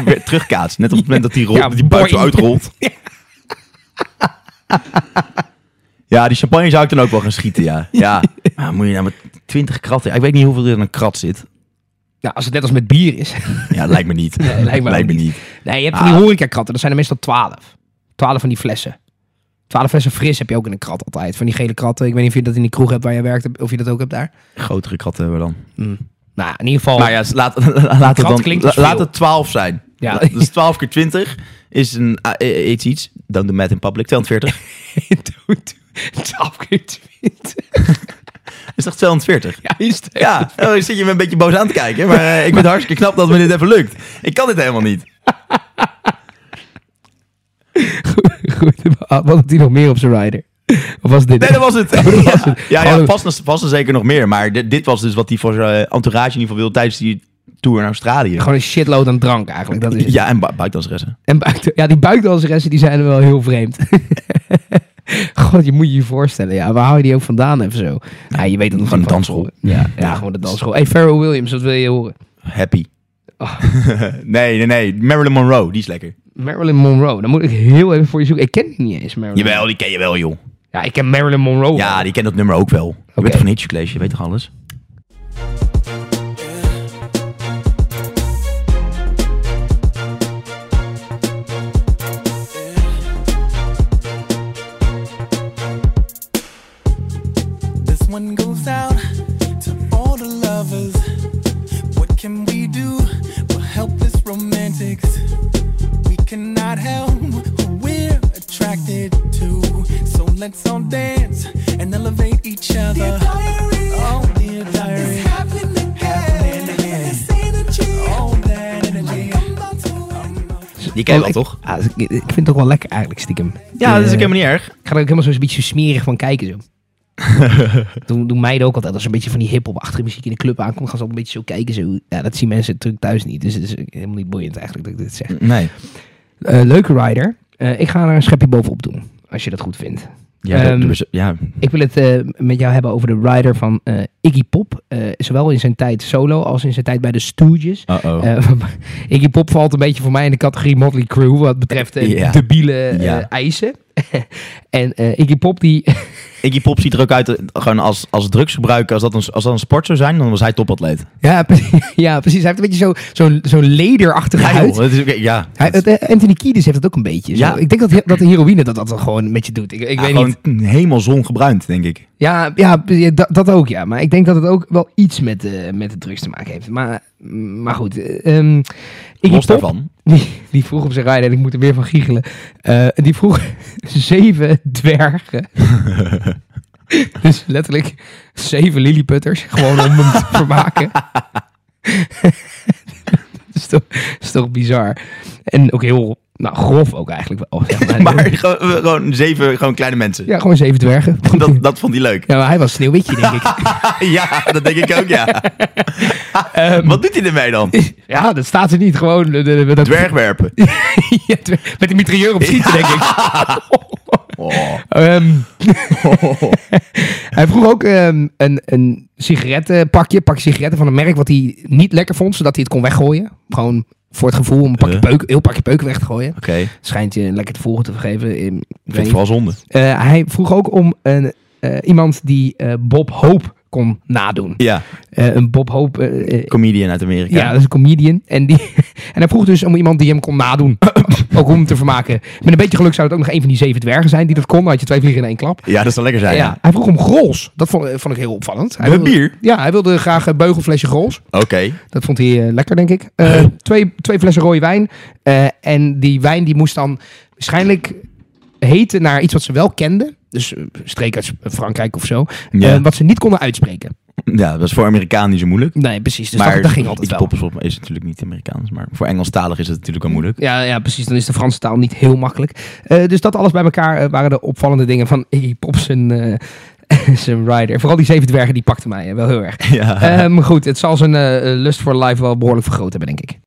[SPEAKER 3] weer terugkaatst. Net op het moment dat die, rolt,
[SPEAKER 1] Ja,
[SPEAKER 3] die buik zo
[SPEAKER 1] boing.
[SPEAKER 3] uitrolt. Ja, die champagne zou ik dan ook wel gaan schieten, ja. ja. Maar moet je nou met 20 kratten... Ik weet niet hoeveel er in een krat zit.
[SPEAKER 1] Ja, als het net als met bier is.
[SPEAKER 3] Ja, lijkt me niet.
[SPEAKER 1] Nee, lijkt me ook
[SPEAKER 3] lijkt me
[SPEAKER 1] niet.
[SPEAKER 3] niet.
[SPEAKER 1] Nee, je hebt van
[SPEAKER 3] Ah.
[SPEAKER 1] die horecakratten. Dat zijn er meestal twaalf. Twaalf van die flessen. Twaalf flessen fris heb je ook in een krat altijd. Van die gele kratten. Ik weet niet of je dat in die kroeg hebt waar je werkt. Of je dat ook hebt daar.
[SPEAKER 3] Grotere kratten hebben we dan.
[SPEAKER 1] Nou, in ieder geval...
[SPEAKER 3] Nou ja, laat, laat, het
[SPEAKER 1] Krat
[SPEAKER 3] dan,
[SPEAKER 1] klinkt dus
[SPEAKER 3] la- laat
[SPEAKER 1] veel.
[SPEAKER 3] het 12 zijn.
[SPEAKER 1] Ja.
[SPEAKER 3] Ja. Dus 12 keer 20 is een ah, eh, eh, iets iets. Dan de math in public 240.
[SPEAKER 1] Doe- doe- 12 keer 20.
[SPEAKER 3] Is toch 240?
[SPEAKER 1] Ja, is het.
[SPEAKER 3] Ja, oh, dan zit je me een beetje boos aan te kijken. Maar eh, ik ben hartstikke knap dat me dit even lukt. Ik kan dit helemaal niet.
[SPEAKER 1] Goed, wat had hij nog meer op zijn rider? Of was dit...
[SPEAKER 3] Nee, dat was het.
[SPEAKER 1] was
[SPEAKER 3] Ja,
[SPEAKER 1] het.
[SPEAKER 3] ja, ja
[SPEAKER 1] Oh.
[SPEAKER 3] vast, en- vast en zeker nog meer. Maar dit, dit was dus wat hij voor zijn eh, entourage in ieder geval wilde tijdens die tour naar Australië.
[SPEAKER 1] Gewoon een shitload aan drank eigenlijk. Dat is het.
[SPEAKER 3] Ja, en bu buikdanseressen.
[SPEAKER 1] En buik, ja, die buikdanseressen die zijn wel heel vreemd. God, je moet je je voorstellen. Ja, waar hou je die ook vandaan even zo? Ja, je weet het nog niet
[SPEAKER 3] Gewoon de
[SPEAKER 1] van
[SPEAKER 3] dansschool.
[SPEAKER 1] tevoren. Ja, ja, gewoon de dansschool. Hey, Pharrell Williams, dat wil je horen.
[SPEAKER 3] Happy.
[SPEAKER 1] Oh.
[SPEAKER 3] nee, nee, nee. Marilyn Monroe, die is lekker.
[SPEAKER 1] Marilyn Monroe, dan moet ik heel even voor je zoeken. Ik ken die niet eens, Marilyn.
[SPEAKER 3] Jawel, die ken je wel, joh.
[SPEAKER 1] Ja, ik ken Marilyn Monroe.
[SPEAKER 3] Ja,
[SPEAKER 1] wel.
[SPEAKER 3] die kent dat nummer ook wel. Je
[SPEAKER 1] Oké.
[SPEAKER 3] bent toch een hitjescollege, je weet toch alles?
[SPEAKER 7] This one goes out to all the lovers. What can we do for helpless romantics? We cannot help who we're attracted to. So let's all dance and elevate each other. Oh, dear diary. It's happening again. All that energy.
[SPEAKER 3] Die ken
[SPEAKER 1] Oh,
[SPEAKER 3] je wel,
[SPEAKER 1] ik-
[SPEAKER 3] toch?
[SPEAKER 1] Ja, ik, ik vind het ook wel lekker eigenlijk, stiekem.
[SPEAKER 3] Ja, dus dat is
[SPEAKER 1] Eh,
[SPEAKER 3] ook helemaal niet erg.
[SPEAKER 1] Ik ga er ook helemaal zo'n beetje smerig van kijken, zo. doen, doen meiden ook altijd. Als er een beetje van die hip-hop achter muziek in de club aankomt, gaan ze altijd een beetje zo kijken. Zo. Ja, dat zien mensen natuurlijk thuis niet. Dus het is helemaal niet boeiend eigenlijk dat ik dit zeg.
[SPEAKER 3] Nee.
[SPEAKER 1] Eh, leuke rider. Eh, ik ga er een schepje bovenop doen, als je dat goed vindt.
[SPEAKER 3] Ja,
[SPEAKER 1] Ehm,
[SPEAKER 3] dus, ja.
[SPEAKER 1] Ik wil het eh, met jou hebben over de rider van eh, Iggy Pop. Eh, zowel in zijn tijd solo als in zijn tijd bij de Stooges.
[SPEAKER 3] Uh-oh.
[SPEAKER 1] Eh, Iggy Pop valt een beetje voor mij in de categorie Motley Crue wat betreft eh,
[SPEAKER 3] Ja.
[SPEAKER 1] debiele eh,
[SPEAKER 3] Ja.
[SPEAKER 1] eisen. en eh, Iggy Pop die...
[SPEAKER 3] Iggy Pop ziet er ook uit, eh, gewoon als, als drugsgebruiker, als dat, een, als dat een sport zou zijn, dan was hij topatleet.
[SPEAKER 1] ja, pre- ja, precies. Hij heeft een beetje zo- zo'n zo'n lederachtige
[SPEAKER 3] Ja,
[SPEAKER 1] huid.
[SPEAKER 3] joh, dat is, ook- ja.
[SPEAKER 1] Hij, het, eh, Anthony Kiedis heeft dat ook een beetje.
[SPEAKER 3] Ja.
[SPEAKER 1] Zo. Ik denk dat, dat de heroïne dat, dat gewoon met je doet. Ik, ik
[SPEAKER 3] Ja,
[SPEAKER 1] weet niet.
[SPEAKER 3] gewoon helemaal zongebruind, denk ik.
[SPEAKER 1] Ja, ja dat, dat ook, ja. Maar ik denk dat het ook wel iets met, eh, met de drugs te maken heeft. Maar, maar goed. eh, ehm Iggy
[SPEAKER 3] Los
[SPEAKER 1] Pop,
[SPEAKER 3] daarvan.
[SPEAKER 1] Die, die vroeg op zijn rijden, en ik moet er weer van giechelen. eh, die vroeg zeven dwergen. dus letterlijk zeven lilliputters. Gewoon om hem te vermaken. dat, is toch, dat is toch bizar. En ook heel Nou, grof ook eigenlijk wel. zeg maar.
[SPEAKER 3] Maar gewoon, gewoon zeven gewoon kleine mensen.
[SPEAKER 1] Ja, gewoon zeven dwergen.
[SPEAKER 3] Dat, dat vond hij leuk.
[SPEAKER 1] Ja, maar hij was sneeuwwitje, denk ik.
[SPEAKER 3] Ja, dat denk ik ook, ja.
[SPEAKER 1] Ehm,
[SPEAKER 3] Wat doet hij ermee dan?
[SPEAKER 1] Ja, dat staat er niet. Gewoon eh, de- met dat-
[SPEAKER 3] Dwergwerpen.
[SPEAKER 1] Ja, dwerg- met een mitrailleur op schieten, denk ik.
[SPEAKER 3] Oh.
[SPEAKER 1] Ehm, hij vroeg ook ehm, een, een sigarettenpakje, een pakje sigaretten van een merk wat hij niet lekker vond, zodat hij het kon weggooien. Gewoon voor het gevoel om een pakje
[SPEAKER 3] Eh?
[SPEAKER 1] peuk, heel pakje peuk weg te gooien.
[SPEAKER 3] Oké, ik
[SPEAKER 1] Schijnt je lekker te volgen te vergeven. Ik
[SPEAKER 3] vind
[SPEAKER 1] weet
[SPEAKER 3] het
[SPEAKER 1] niet.
[SPEAKER 3] vooral zonde.
[SPEAKER 1] Eh, hij vroeg ook om een, eh, iemand die eh, Bob Hope kon nadoen.
[SPEAKER 3] Ja,
[SPEAKER 1] Eh, een Bob Hope eh, eh,
[SPEAKER 3] comedian uit Amerika.
[SPEAKER 1] Ja, dat is een comedian. En, die, en hij vroeg dus om iemand die hem kon nadoen. ook om hem te vermaken. Met een beetje geluk zou het ook nog een van die zeven dwergen zijn die dat kon. Dan had je twee vliegen in één klap.
[SPEAKER 3] Ja, dat zou lekker zijn.
[SPEAKER 1] ja.
[SPEAKER 3] ja.
[SPEAKER 1] Hij vroeg om grols. Dat vond, vond ik heel opvallend. Hij
[SPEAKER 3] Een
[SPEAKER 1] wilde-
[SPEAKER 3] bier?
[SPEAKER 1] Ja, hij wilde graag een beugelflesje grols.
[SPEAKER 3] Oké.
[SPEAKER 1] Dat vond hij eh, lekker, denk ik. Eh, twee, twee flessen rode wijn. Eh, en die wijn die moest dan waarschijnlijk heten naar iets wat ze wel kenden. Dus eh, streek uit Frankrijk of zo.
[SPEAKER 3] Ja.
[SPEAKER 1] Eh, wat ze niet konden uitspreken.
[SPEAKER 3] Ja, dat is voor Amerikaan niet zo moeilijk.
[SPEAKER 1] Nee, precies. Dus
[SPEAKER 3] maar
[SPEAKER 1] dat, dat ging altijd
[SPEAKER 3] iets
[SPEAKER 1] wel.
[SPEAKER 3] poppers op is natuurlijk niet Amerikaans. Maar voor Engelstalig is het natuurlijk al moeilijk.
[SPEAKER 1] Ja, ja, precies. Dan is de Franse taal niet heel makkelijk. Eh, dus dat alles bij elkaar eh, waren de opvallende dingen van Iggy Pop zijn, eh, zijn rider. Vooral die zeven dwergen, die pakten mij eh, wel heel erg.
[SPEAKER 3] Ja.
[SPEAKER 1] Eh, maar goed, het zal zijn eh, lust voor life wel behoorlijk vergroot hebben, denk ik.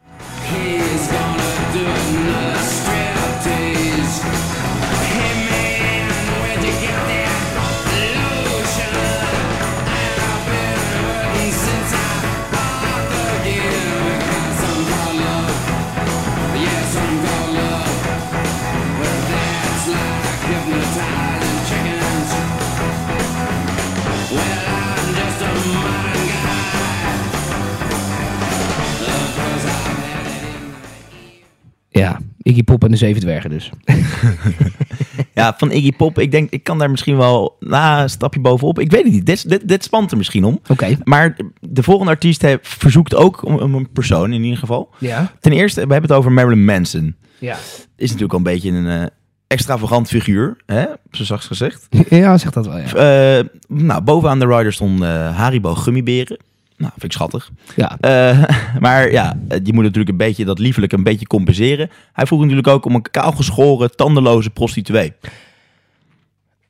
[SPEAKER 1] Ja, Iggy Pop en de zeven dwergen dus.
[SPEAKER 3] Ja, van Iggy Pop. Ik denk, ik kan daar misschien wel na een stapje bovenop. Ik weet het niet. Dit, dit, dit spant er misschien om.
[SPEAKER 1] Oké.
[SPEAKER 3] Maar de volgende artiest heeft, verzoekt ook om, om een persoon in ieder geval.
[SPEAKER 1] Ja.
[SPEAKER 3] Ten eerste, we hebben het over Marilyn Manson.
[SPEAKER 1] Ja.
[SPEAKER 3] Is natuurlijk al een beetje een eh, extravagant figuur. Hè? Zo zachts gezegd.
[SPEAKER 1] ja, zeg dat wel, ja.
[SPEAKER 3] Eh, nou, bovenaan de rider stonden eh, Haribo gummiberen. Nou, vind ik schattig.
[SPEAKER 1] Ja,
[SPEAKER 3] Eh, maar ja, eh, je moet natuurlijk een beetje dat liefelijk een beetje compenseren. Hij vroeg natuurlijk ook om een kaalgeschoren, tandenloze prostituee.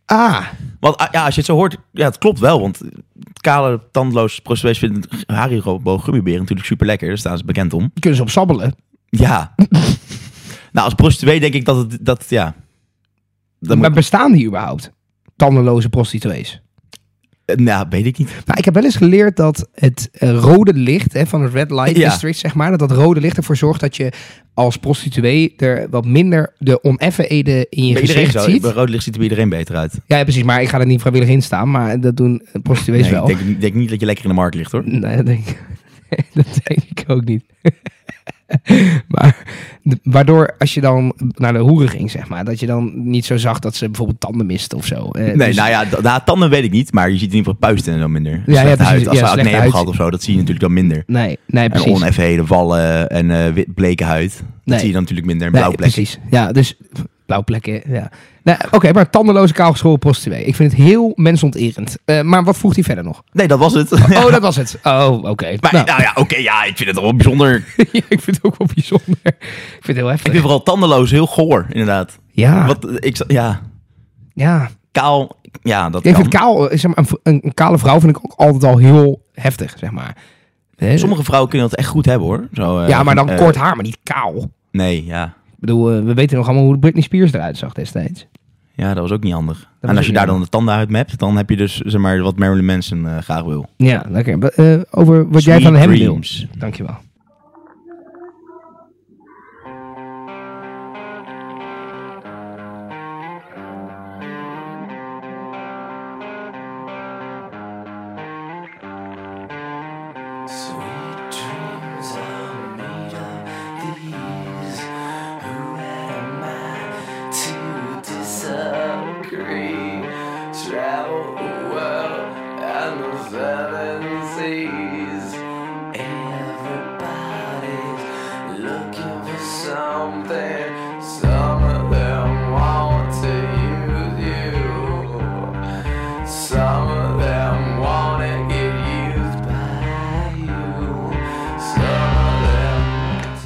[SPEAKER 3] Ah. Want ah, ja, als je het zo hoort, ja, het klopt wel. Want kale, tandenloze prostituees vinden Haribo gummiberen natuurlijk super lekker. Daar staan ze bekend om.
[SPEAKER 1] kunnen ze op sabbelen.
[SPEAKER 3] Ja. nou, als prostituee denk ik dat het, dat, ja. Dan
[SPEAKER 1] maar
[SPEAKER 3] moet,
[SPEAKER 1] bestaan die überhaupt? Tandenloze prostituees.
[SPEAKER 3] eh, nou, weet ik niet.
[SPEAKER 1] Nou, ik heb wel eens geleerd dat het eh, rode licht hè, van het red light
[SPEAKER 3] Ja.
[SPEAKER 1] district, zeg maar, dat dat rode licht ervoor zorgt dat je als prostituee er wat minder de oneffenheden in je
[SPEAKER 3] Bij iedereen
[SPEAKER 1] gezicht
[SPEAKER 3] zo.
[SPEAKER 1] ziet.
[SPEAKER 3] Bij rood licht ziet er bij iedereen beter uit.
[SPEAKER 1] Ja, ja, precies, maar ik ga er niet vrijwillig in staan, maar dat doen eh, prostituees
[SPEAKER 3] Nee,
[SPEAKER 1] wel.
[SPEAKER 3] ik denk, ik denk niet dat je lekker in de markt ligt hoor.
[SPEAKER 1] Nee, dat denk, ik- dat denk ik ook niet. maar de- waardoor als je dan naar de hoeren ging, zeg maar, dat je dan niet zo zag dat ze bijvoorbeeld tanden misten of zo. Eh,
[SPEAKER 3] Nee,
[SPEAKER 1] dus-
[SPEAKER 3] nou ja, d- nou, tanden weet ik niet, maar je ziet in ieder geval puisten en zo minder.
[SPEAKER 1] ja,
[SPEAKER 3] Ja,
[SPEAKER 1] precies.
[SPEAKER 3] huid, als
[SPEAKER 1] Ja,
[SPEAKER 3] ze acne
[SPEAKER 1] slechte
[SPEAKER 3] hebben
[SPEAKER 1] huid.
[SPEAKER 3] gehad of zo, dat zie je natuurlijk dan minder.
[SPEAKER 1] Nee, nee,
[SPEAKER 3] En
[SPEAKER 1] precies.
[SPEAKER 3] oneffenheden, vallen en eh, wit, bleke huid. Dat
[SPEAKER 1] Nee.
[SPEAKER 3] zie je dan natuurlijk minder. En
[SPEAKER 1] Nee,
[SPEAKER 3] blauwe plekken.
[SPEAKER 1] Precies. Ja, dus blauwe plekken. Ja. Nou, Oké, maar tandeloze kaalgeschoren prostituee. Ik vind het heel mensonterend. Eh, maar wat vroeg hij verder nog?
[SPEAKER 3] Nee, dat was het.
[SPEAKER 1] Oh, dat was het. Oh, oké.
[SPEAKER 3] Maar
[SPEAKER 1] Nou,
[SPEAKER 3] nou ja, oké, ja, ik vind het wel bijzonder. Ik
[SPEAKER 1] ja, ik vind het ook wel bijzonder. Ik vind het heel heftig.
[SPEAKER 3] vind vooral tandenloos heel goor, inderdaad.
[SPEAKER 1] Ja,
[SPEAKER 3] Wat, eh, ik, z- ja,
[SPEAKER 1] ja.
[SPEAKER 3] kaal, ja, dat
[SPEAKER 1] Ik
[SPEAKER 3] kan.
[SPEAKER 1] vind kaal, eh, zeg maar, een v- een, een kale vrouw vind ik ook altijd al heel heftig, zeg maar. Hè?
[SPEAKER 3] Sommige vrouwen kunnen dat echt goed hebben hoor. Zo, eh,
[SPEAKER 1] ja, maar dan
[SPEAKER 3] eh,
[SPEAKER 1] kort haar, maar niet kaal.
[SPEAKER 3] Nee, ja.
[SPEAKER 1] Ik bedoel, eh, we weten nog allemaal hoe Britney Spears eruit zag destijds.
[SPEAKER 3] Ja, dat was ook niet handig.
[SPEAKER 1] was
[SPEAKER 3] en als je
[SPEAKER 1] ook
[SPEAKER 3] daar
[SPEAKER 1] niet
[SPEAKER 3] dan de tanden uit mept, dan heb je dus zeg maar, wat Marilyn Manson eh, graag wil.
[SPEAKER 1] Ja, lekker. Be- eh, over wat jij
[SPEAKER 3] Sweet
[SPEAKER 1] van hem wil.
[SPEAKER 3] dreams.
[SPEAKER 1] Dankjewel.
[SPEAKER 8] Travel the world and the seven seas. Everybody's looking for something. Some of them want to use you. Some of them want to get used by you. Some of them.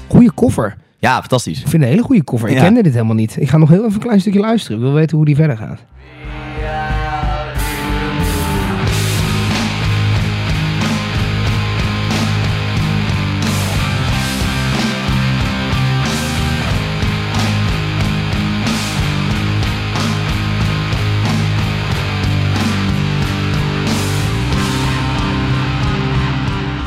[SPEAKER 1] Goeie koffer.
[SPEAKER 3] Ja, fantastisch.
[SPEAKER 1] Ik vind het een hele goede cover. Ik
[SPEAKER 3] Ja.
[SPEAKER 1] kende dit helemaal niet. Ik ga nog heel even een klein stukje luisteren. Ik wil weten hoe die verder gaat.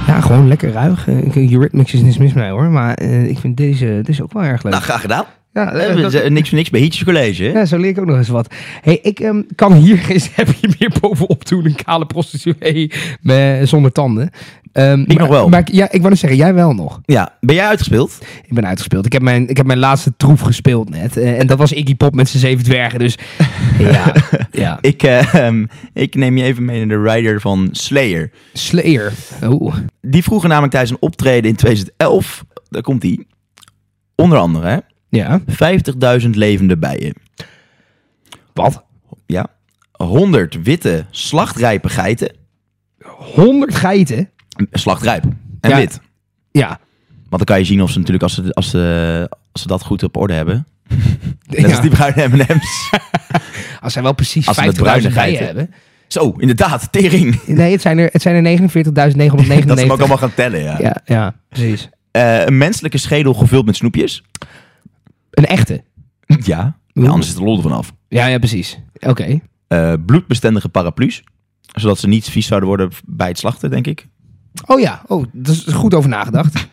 [SPEAKER 1] Ja, Gewoon lekker ruig. Eh, ik- Eurythmics is niks mis mee hoor. Maar eh, ik vind deze, dit is ook wel erg leuk.
[SPEAKER 3] Nou, graag gedaan.
[SPEAKER 1] ja, eh,
[SPEAKER 3] Eh,
[SPEAKER 1] dat-
[SPEAKER 3] eh, Niks voor niks bij Hietjes College. hè?
[SPEAKER 1] Ja, zo leer ik ook nog eens wat. hey, ik ehm, kan hier eens heb je meer bovenop doen een kale prostituee met, zonder tanden. Ehm, maar-
[SPEAKER 3] nog wel.
[SPEAKER 1] Maar, ik- ja, ik wou net zeggen, jij wel nog.
[SPEAKER 3] Ja, ben jij uitgespeeld?
[SPEAKER 1] Ik ben uitgespeeld. Ik heb mijn, ik heb mijn laatste troef gespeeld net. Eh, en dat was Iggy Pop met zijn zeven dwergen. Dus ja, ja.
[SPEAKER 3] Ik, eh, ehm, ik neem je even mee naar de rider van Slayer.
[SPEAKER 1] Slayer. Oeh.
[SPEAKER 3] Die vroegen namelijk tijdens een optreden in 2011, daar komt die, onder andere
[SPEAKER 1] Ja.
[SPEAKER 3] hè, 50.000 levende bijen.
[SPEAKER 1] Wat?
[SPEAKER 3] Ja. 100 witte slachtrijpe geiten.
[SPEAKER 1] 100 geiten?
[SPEAKER 3] Slachtrijp en
[SPEAKER 1] Ja.
[SPEAKER 3] wit.
[SPEAKER 1] Ja.
[SPEAKER 3] Want dan kan je zien of ze natuurlijk, als ze, als ze, als ze dat goed op orde hebben. Net
[SPEAKER 1] Ja.
[SPEAKER 3] als die bruine M&M's.
[SPEAKER 1] Als zij wel precies
[SPEAKER 3] Als ze met
[SPEAKER 1] 50.000
[SPEAKER 3] bruine geiten-
[SPEAKER 1] bijen hebben.
[SPEAKER 3] Zo, inderdaad, tering.
[SPEAKER 1] Nee, het zijn er, het zijn er 49.999.
[SPEAKER 3] Dat ze hem ook allemaal gaan tellen, ja.
[SPEAKER 1] Ja, ja, precies.
[SPEAKER 3] Eh, een menselijke schedel gevuld met snoepjes.
[SPEAKER 1] Een echte.
[SPEAKER 3] Ja, ja, anders is de lol ervan af.
[SPEAKER 1] Ja, ja, precies. Oké.
[SPEAKER 3] Eh, bloedbestendige paraplu's. Zodat ze niet vies zouden worden bij het slachten, denk ik.
[SPEAKER 1] Oh ja, oh, dat is goed over nagedacht.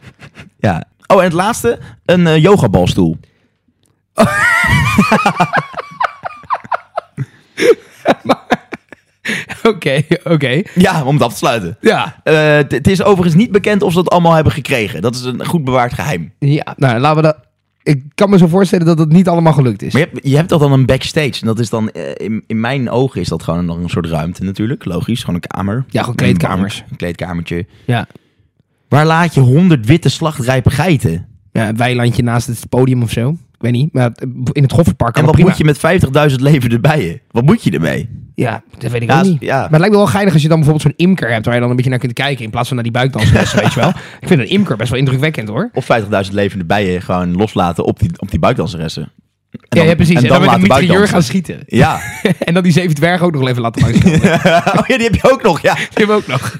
[SPEAKER 3] Ja. Oh, en het laatste, een eh, yogabalstoel.
[SPEAKER 1] Oké, oké.
[SPEAKER 3] Ja, om het af te sluiten.
[SPEAKER 1] Ja.
[SPEAKER 3] Eh, Het het is overigens niet bekend of ze dat allemaal hebben gekregen. Dat is een goed bewaard geheim.
[SPEAKER 1] Ja, nou laten we dat... Ik kan me zo voorstellen dat het niet allemaal gelukt is.
[SPEAKER 3] Maar je hebt, je hebt dat dan een backstage. En dat is dan, eh, in, in mijn ogen is dat gewoon nog een soort ruimte natuurlijk. Logisch, gewoon een kamer.
[SPEAKER 1] Ja, gewoon kleedkamers.
[SPEAKER 3] Een, warm- een kleedkamertje.
[SPEAKER 1] Ja.
[SPEAKER 3] Waar laat je honderd witte slachtrijpe geiten?
[SPEAKER 1] ja, een weilandje naast het podium of zo. Ik weet niet, maar in het Goffertpark kan
[SPEAKER 3] En wat
[SPEAKER 1] dat prima.
[SPEAKER 3] moet je met 50.000 levende bijen? Wat moet je ermee?
[SPEAKER 1] Ja, dat weet ik
[SPEAKER 3] Ja,
[SPEAKER 1] ook
[SPEAKER 3] is-
[SPEAKER 1] niet.
[SPEAKER 3] ja.
[SPEAKER 1] Maar het lijkt me wel geinig als je dan bijvoorbeeld zo'n imker hebt... waar je dan een beetje naar kunt kijken in plaats van naar die buikdanslessen, weet je wel. Ik vind een imker best wel indrukwekkend hoor.
[SPEAKER 3] Of 50.000 levende bijen gewoon loslaten op die, op die buikdanseressen. En
[SPEAKER 1] Ja, ja, precies. En dan, met een
[SPEAKER 3] laten
[SPEAKER 1] mitrailleur
[SPEAKER 3] buikdansen.
[SPEAKER 1] gaan schieten.
[SPEAKER 3] Ja.
[SPEAKER 1] en dan die zeven dwergen ook nog even laten langs. Die
[SPEAKER 3] oh ja, die heb je ook nog, ja.
[SPEAKER 1] hebben we ook nog.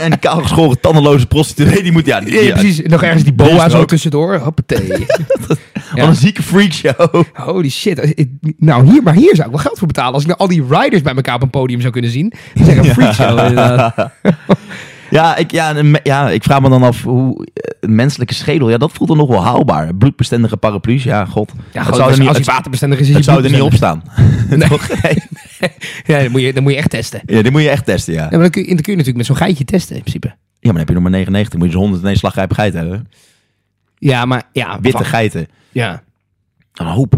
[SPEAKER 3] En die kaalgeschoren, tandenloze prostituee, die moet... Ja, die-
[SPEAKER 1] Ja,
[SPEAKER 3] ja,
[SPEAKER 1] precies. Nog ergens die
[SPEAKER 3] Die is
[SPEAKER 1] boa
[SPEAKER 3] er
[SPEAKER 1] zo
[SPEAKER 3] ook.
[SPEAKER 1] tussendoor. Hoppatee.
[SPEAKER 3] Wat een zieke freakshow.
[SPEAKER 1] Holy shit. Als ik- Nou, hier, maar hier zou ik wel geld voor betalen. Als ik nou al die riders bij elkaar op een podium zou kunnen zien. Dat is echt een freakshow. inderdaad.
[SPEAKER 3] Ja ik, ja, een me- ja, ik vraag me dan af hoe eh, een menselijke schedel, ja, dat voelt dan nog wel haalbaar. Bloedbestendige paraplu's, ja, god.
[SPEAKER 1] Ja,
[SPEAKER 3] Het
[SPEAKER 1] gewoon,
[SPEAKER 3] zou
[SPEAKER 1] als,
[SPEAKER 3] er niet,
[SPEAKER 1] als hij
[SPEAKER 3] het,
[SPEAKER 1] waterbestendig is, is
[SPEAKER 3] het
[SPEAKER 1] hij
[SPEAKER 3] zou er niet op
[SPEAKER 1] bloedbestendig.
[SPEAKER 3] staan. Toch? Nee.
[SPEAKER 1] Ja, dan moet, je, dan moet je echt testen.
[SPEAKER 3] Ja, die moet je echt testen, ja.
[SPEAKER 1] Ja, maar dan kun, je, dan kun je natuurlijk met zo'n geitje testen, in principe.
[SPEAKER 3] Ja, maar dan heb je nog maar 99, moet je dus 100 ineens slagrijpe geiten hebben.
[SPEAKER 1] Ja, maar ja.
[SPEAKER 3] Witte
[SPEAKER 1] wacht.
[SPEAKER 3] geiten.
[SPEAKER 1] Ja.
[SPEAKER 3] Een hoop.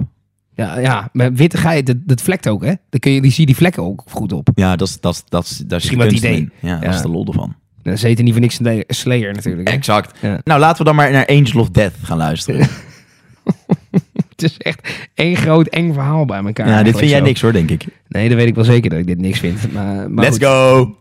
[SPEAKER 1] Ja, ja, maar witte geit, dat, dat vlekt ook, hè? Dan kun je, die zie je die vlekken ook goed op.
[SPEAKER 3] Ja, dat is, dat is, dat is, daar is de
[SPEAKER 1] Misschien wel het
[SPEAKER 3] kunst
[SPEAKER 1] idee.
[SPEAKER 3] in. Ja,
[SPEAKER 1] Ja.
[SPEAKER 3] dat is de lol ervan.
[SPEAKER 1] Dan zit er niet voor niks een de- Slayer natuurlijk. hè?
[SPEAKER 3] Exact.
[SPEAKER 1] Ja.
[SPEAKER 3] Nou, laten we dan maar naar Angel of Death gaan luisteren.
[SPEAKER 1] Het is echt één groot eng verhaal bij elkaar.
[SPEAKER 3] Ja, dit
[SPEAKER 1] eigenlijk
[SPEAKER 3] vind jij
[SPEAKER 1] zo.
[SPEAKER 3] niks hoor, denk ik.
[SPEAKER 1] Nee, dat weet ik wel zeker dat ik dit niks vind. Maar, maar
[SPEAKER 3] Let's
[SPEAKER 1] goed.
[SPEAKER 3] go!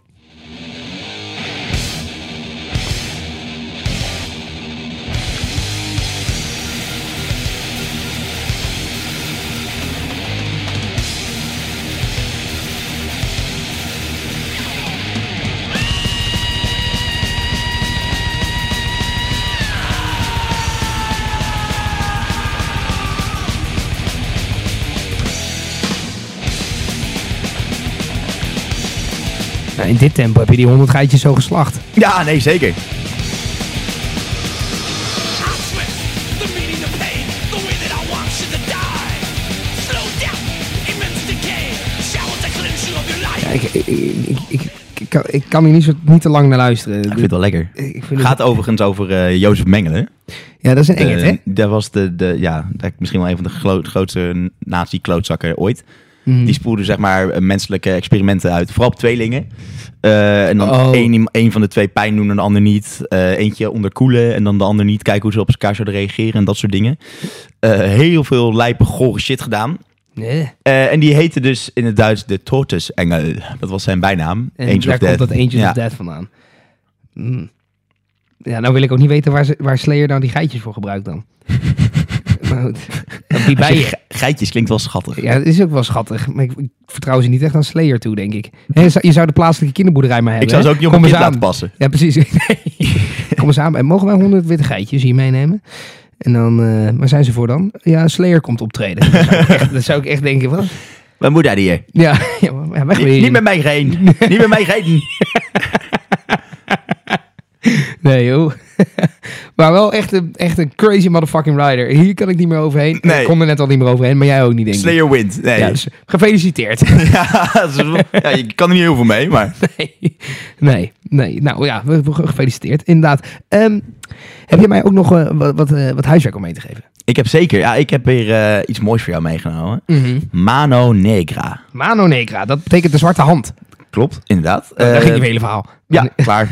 [SPEAKER 1] Nou, in dit tempo heb je die 100 geitjes zo geslacht.
[SPEAKER 3] Ja, nee, zeker.
[SPEAKER 1] Ja, ik, ik, ik, ik, ik kan, ik kan hier niet, zo, niet te lang naar luisteren.
[SPEAKER 3] Ik vind het wel lekker.
[SPEAKER 1] Ik vind het-
[SPEAKER 3] Gaat overigens over eh, Jozef Mengelen.
[SPEAKER 1] Ja, dat is een
[SPEAKER 3] De-
[SPEAKER 1] engert, hè?
[SPEAKER 3] Eh, Dat was de, de, ja, dat- misschien wel een van de glo- grootste nazi-klootzakken ooit.
[SPEAKER 1] Mhm.
[SPEAKER 3] Die spoelde zeg maar eh, menselijke experimenten uit. Vooral op tweelingen. Eh, en dan
[SPEAKER 1] Oh.
[SPEAKER 3] één, iem- één van de twee pijn doen en de ander niet. Eh, eentje onderkoelen en dan de ander niet. Kijken hoe ze op elkaar zouden reageren en dat soort dingen. Eh, heel veel lijpe, gore shit gedaan.
[SPEAKER 1] Nee.
[SPEAKER 3] Eh, en die heette dus in het Duits de Tortusengel. Dat was zijn bijnaam.
[SPEAKER 1] En
[SPEAKER 3] Angel of
[SPEAKER 1] daar komt
[SPEAKER 3] Death.
[SPEAKER 1] dat Angel
[SPEAKER 3] Ja.
[SPEAKER 1] of Death vandaan. Mm. Ja, nou wil ik ook niet weten waar, ze- waar Slayer nou die geitjes voor gebruikt dan. Maar goed, wie bij
[SPEAKER 3] Als je
[SPEAKER 1] je.
[SPEAKER 3] ge- Geitjes klinkt wel schattig.
[SPEAKER 1] Ja, het is ook wel schattig. Maar ik, ik vertrouw ze niet echt aan Slayer toe, denk ik. Hè, zou- je zou de plaatselijke kinderboerderij maar hebben.
[SPEAKER 3] Ik zou ze
[SPEAKER 1] hè?
[SPEAKER 3] ook niet op een
[SPEAKER 1] Kom
[SPEAKER 3] kind
[SPEAKER 1] eens
[SPEAKER 3] laten
[SPEAKER 1] aan.
[SPEAKER 3] passen.
[SPEAKER 1] Ja, precies. Nee. Kom eens aan. En mogen wij 100 witte geitjes hier meenemen? En dan, eh, waar zijn ze voor dan? Ja, Slayer komt optreden. Dat zou ik echt, dat zou ik echt denken, wat?
[SPEAKER 3] Mijn moeder die hier.
[SPEAKER 1] Ja, ja, maar- ja, weg weer.
[SPEAKER 3] Niet met mij geen. Niet met mij geen.
[SPEAKER 1] Nee, joh. maar wel echt een, echt een crazy motherfucking rider. Hier kan ik niet meer overheen.
[SPEAKER 3] Nee.
[SPEAKER 1] Ik kon er net al niet meer overheen, maar jij ook niet, denk ik.
[SPEAKER 3] Slayer wint. Nee.
[SPEAKER 1] Ja, dus gefeliciteerd.
[SPEAKER 3] Ja, dat is wel- ja, je kan er niet heel veel mee, maar...
[SPEAKER 1] nee. nee, nee. Nou ja, we- we- gefeliciteerd. Inderdaad. Ehm, heb je mij ook nog eh, wat, wat, eh, wat huiswerk om mee te geven?
[SPEAKER 3] Ik heb zeker... Ja, ik heb weer eh, iets moois voor jou meegenomen.
[SPEAKER 1] Mhm.
[SPEAKER 3] Mano Negra.
[SPEAKER 1] Mano Negra, dat betekent de zwarte hand.
[SPEAKER 3] Klopt, inderdaad.
[SPEAKER 1] Oh, Daar
[SPEAKER 3] Eh,
[SPEAKER 1] ging je hele verhaal. eh,
[SPEAKER 3] Ja, klaar.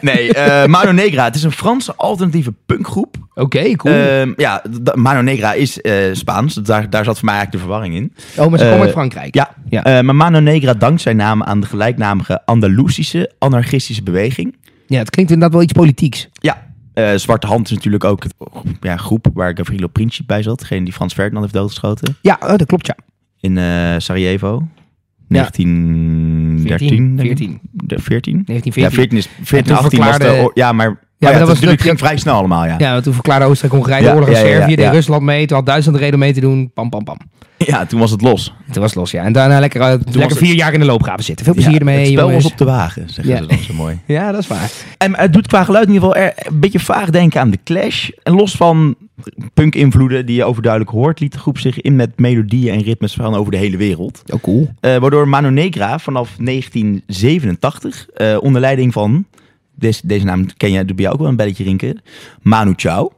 [SPEAKER 3] nee, eh Mano Negra. Het is een Franse alternatieve punkgroep.
[SPEAKER 1] Oké, cool.
[SPEAKER 3] Ehm, ja, d- Mano Negra is eh, Spaans. Daar, daar zat voor mij eigenlijk de verwarring in.
[SPEAKER 1] oh, maar ze komen
[SPEAKER 3] eh,
[SPEAKER 1] uit Frankrijk.
[SPEAKER 3] Ja,
[SPEAKER 1] Ja.
[SPEAKER 3] eh, maar Mano Negra dankt zijn naam aan de gelijknamige Andalusische anarchistische beweging.
[SPEAKER 1] ja, het klinkt inderdaad wel iets politieks.
[SPEAKER 3] Ja, eh, Zwarte Hand is natuurlijk ook het ja, groep waar Gavrilo Princip bij zat. Degene die Frans Ferdinand heeft doodgeschoten.
[SPEAKER 1] Ja, oh, dat klopt, ja.
[SPEAKER 3] In eh, Sarajevo.
[SPEAKER 1] 14,
[SPEAKER 3] 1913. denk ik.
[SPEAKER 1] 14.
[SPEAKER 3] De 14?
[SPEAKER 1] 1914.
[SPEAKER 3] Ja, 14 is 14,
[SPEAKER 1] toen
[SPEAKER 3] 18 was de...
[SPEAKER 1] verklaarde-
[SPEAKER 3] oor- Ja, maar, maar ja,
[SPEAKER 1] maar dat
[SPEAKER 3] het
[SPEAKER 1] was
[SPEAKER 3] natuurlijk
[SPEAKER 1] dat-
[SPEAKER 3] ging vrij snel allemaal, ja.
[SPEAKER 1] Ja, want toen verklaarde Oostenrijk-Hongarije
[SPEAKER 3] Ja,
[SPEAKER 1] de oorlog aan
[SPEAKER 3] ja, ja, ja,
[SPEAKER 1] Servië, deed
[SPEAKER 3] ja.
[SPEAKER 1] Rusland mee, toen had Duitsland de reden mee te doen, pam, pam, pam.
[SPEAKER 3] Ja, toen was het los.
[SPEAKER 1] Toen was het los, ja. En daarna lekker, eh, lekker
[SPEAKER 3] het-
[SPEAKER 1] vier jaar in de loopgraven zitten. Veel plezier
[SPEAKER 3] ja,
[SPEAKER 1] ermee,
[SPEAKER 3] het spel
[SPEAKER 1] jongens.
[SPEAKER 3] was op de wagen, zeggen
[SPEAKER 1] Ja.
[SPEAKER 3] ze dan zo mooi.
[SPEAKER 1] Ja, dat is waar.
[SPEAKER 3] En eh, het doet qua geluid in ieder geval er- een beetje vaag denken aan de Clash. En los van punk-invloeden die je overduidelijk hoort, liet de groep zich in met melodieën en ritmes van over de hele wereld.
[SPEAKER 1] Oh, cool.
[SPEAKER 3] Eh, waardoor Mano Negra vanaf 1987 eh, onder leiding van, deze, deze naam ken jij, doe bij jou ook wel een belletje rinken, Manu Chao.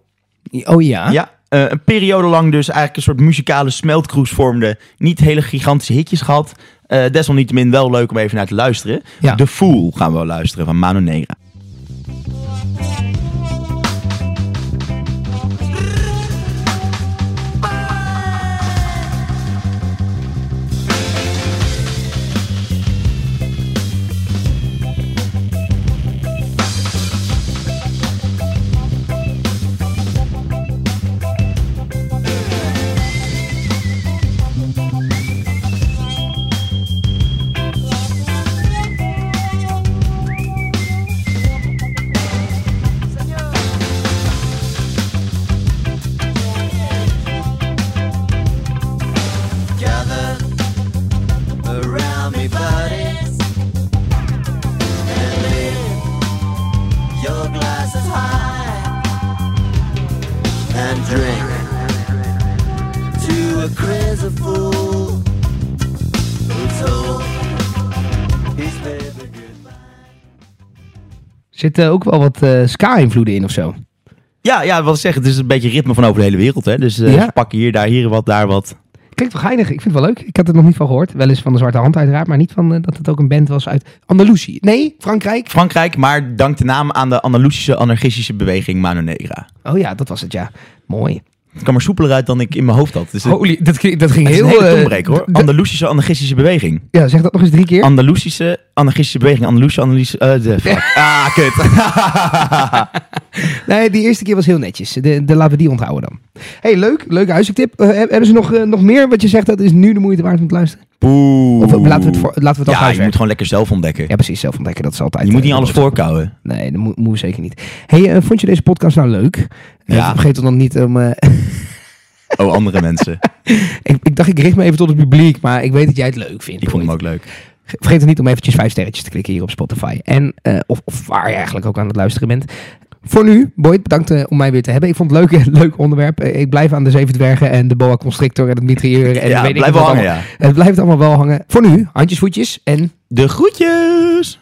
[SPEAKER 1] Oh ja?
[SPEAKER 3] Ja, eh, een periode lang dus eigenlijk een soort muzikale smeltkroes vormde. Niet hele gigantische hitjes gehad. Eh, desalniettemin wel leuk om even naar te luisteren.
[SPEAKER 1] Ja.
[SPEAKER 3] The Fool gaan we wel luisteren van Manu Negra.
[SPEAKER 7] gather around me, buddies, and lift your glasses high and drink to a crazy fool who told his baby goodbye.
[SPEAKER 1] Zitten ook wel wat eh, ska-invloeden in of zo?
[SPEAKER 3] Ja, ja, wat ik zeg, het is een beetje ritme van over de hele wereld. Hè? Dus eh
[SPEAKER 1] Ja.
[SPEAKER 3] ze pakken hier, daar, hier wat, daar wat.
[SPEAKER 1] Klinkt wel geinig. Ik vind het wel leuk. Ik had het nog niet van gehoord. Wel eens van de Zwarte Hand uiteraard, maar niet van eh, dat het ook een band was uit Andalusië. Nee, Frankrijk.
[SPEAKER 3] Frankrijk, maar dankt de naam aan de Andalusische anarchistische beweging Manu Negra.
[SPEAKER 1] Oh ja, dat was het, ja. Mooi.
[SPEAKER 3] Het kwam er soepeler uit dan ik in mijn hoofd had. Dus het,
[SPEAKER 1] Holy, dat, kli- dat ging
[SPEAKER 3] het is
[SPEAKER 1] heel...
[SPEAKER 3] een hele
[SPEAKER 1] eh,
[SPEAKER 3] tongbreker hoor.
[SPEAKER 1] d- d-
[SPEAKER 3] Andalusische anarchistische beweging.
[SPEAKER 1] ja, zeg dat nog eens drie keer.
[SPEAKER 3] Andalusische anarchistische beweging. Andalusische Andalusische... eh, de, fuck. Ah, kut.
[SPEAKER 1] Nee, die eerste keer was heel netjes. De, de, laten we die onthouden dan. hey, leuk. Leuke huiswerktip. Eh, heb- hebben ze nog, eh, nog meer wat je zegt? Dat is nu de moeite waard om te luisteren.
[SPEAKER 3] Poeh.
[SPEAKER 1] Of eh, laten we het, voor, laten we het als
[SPEAKER 3] ja, je moet
[SPEAKER 1] huiswerk.
[SPEAKER 3] gewoon lekker zelf ontdekken.
[SPEAKER 1] Ja, precies. Zelf ontdekken. Dat is altijd...
[SPEAKER 3] je moet
[SPEAKER 1] eh,
[SPEAKER 3] niet
[SPEAKER 1] de
[SPEAKER 3] alles
[SPEAKER 1] boodschap.
[SPEAKER 3] voorkouwen.
[SPEAKER 1] Nee, dat moet, moet zeker niet. hey, eh, vond je deze podcast nou leuk? Eh,
[SPEAKER 3] Ja.
[SPEAKER 1] vergeet dan niet om... eh,
[SPEAKER 3] Oh, andere mensen.
[SPEAKER 1] ik, ik dacht, ik richt me even tot het publiek, maar ik weet dat jij het leuk vindt.
[SPEAKER 3] Ik vond hem
[SPEAKER 1] Boyd.
[SPEAKER 3] ook leuk.
[SPEAKER 1] Vergeet dan niet om eventjes vijf sterretjes te klikken hier op Spotify. En, eh, of, of waar je eigenlijk ook aan het luisteren bent. Voor nu, Boyd, bedankt eh, om mij weer te hebben. Ik vond het leuk, leuk onderwerp. Eh, ik blijf aan de Zeven Dwergen en de Boa Constrictor en het mitrailleur. En
[SPEAKER 3] Ja,
[SPEAKER 1] weet ik
[SPEAKER 3] blijf
[SPEAKER 1] wat
[SPEAKER 3] wel hangen,
[SPEAKER 1] allemaal. Het blijft allemaal wel hangen. Voor nu, handjes, voetjes en...
[SPEAKER 3] De groetjes!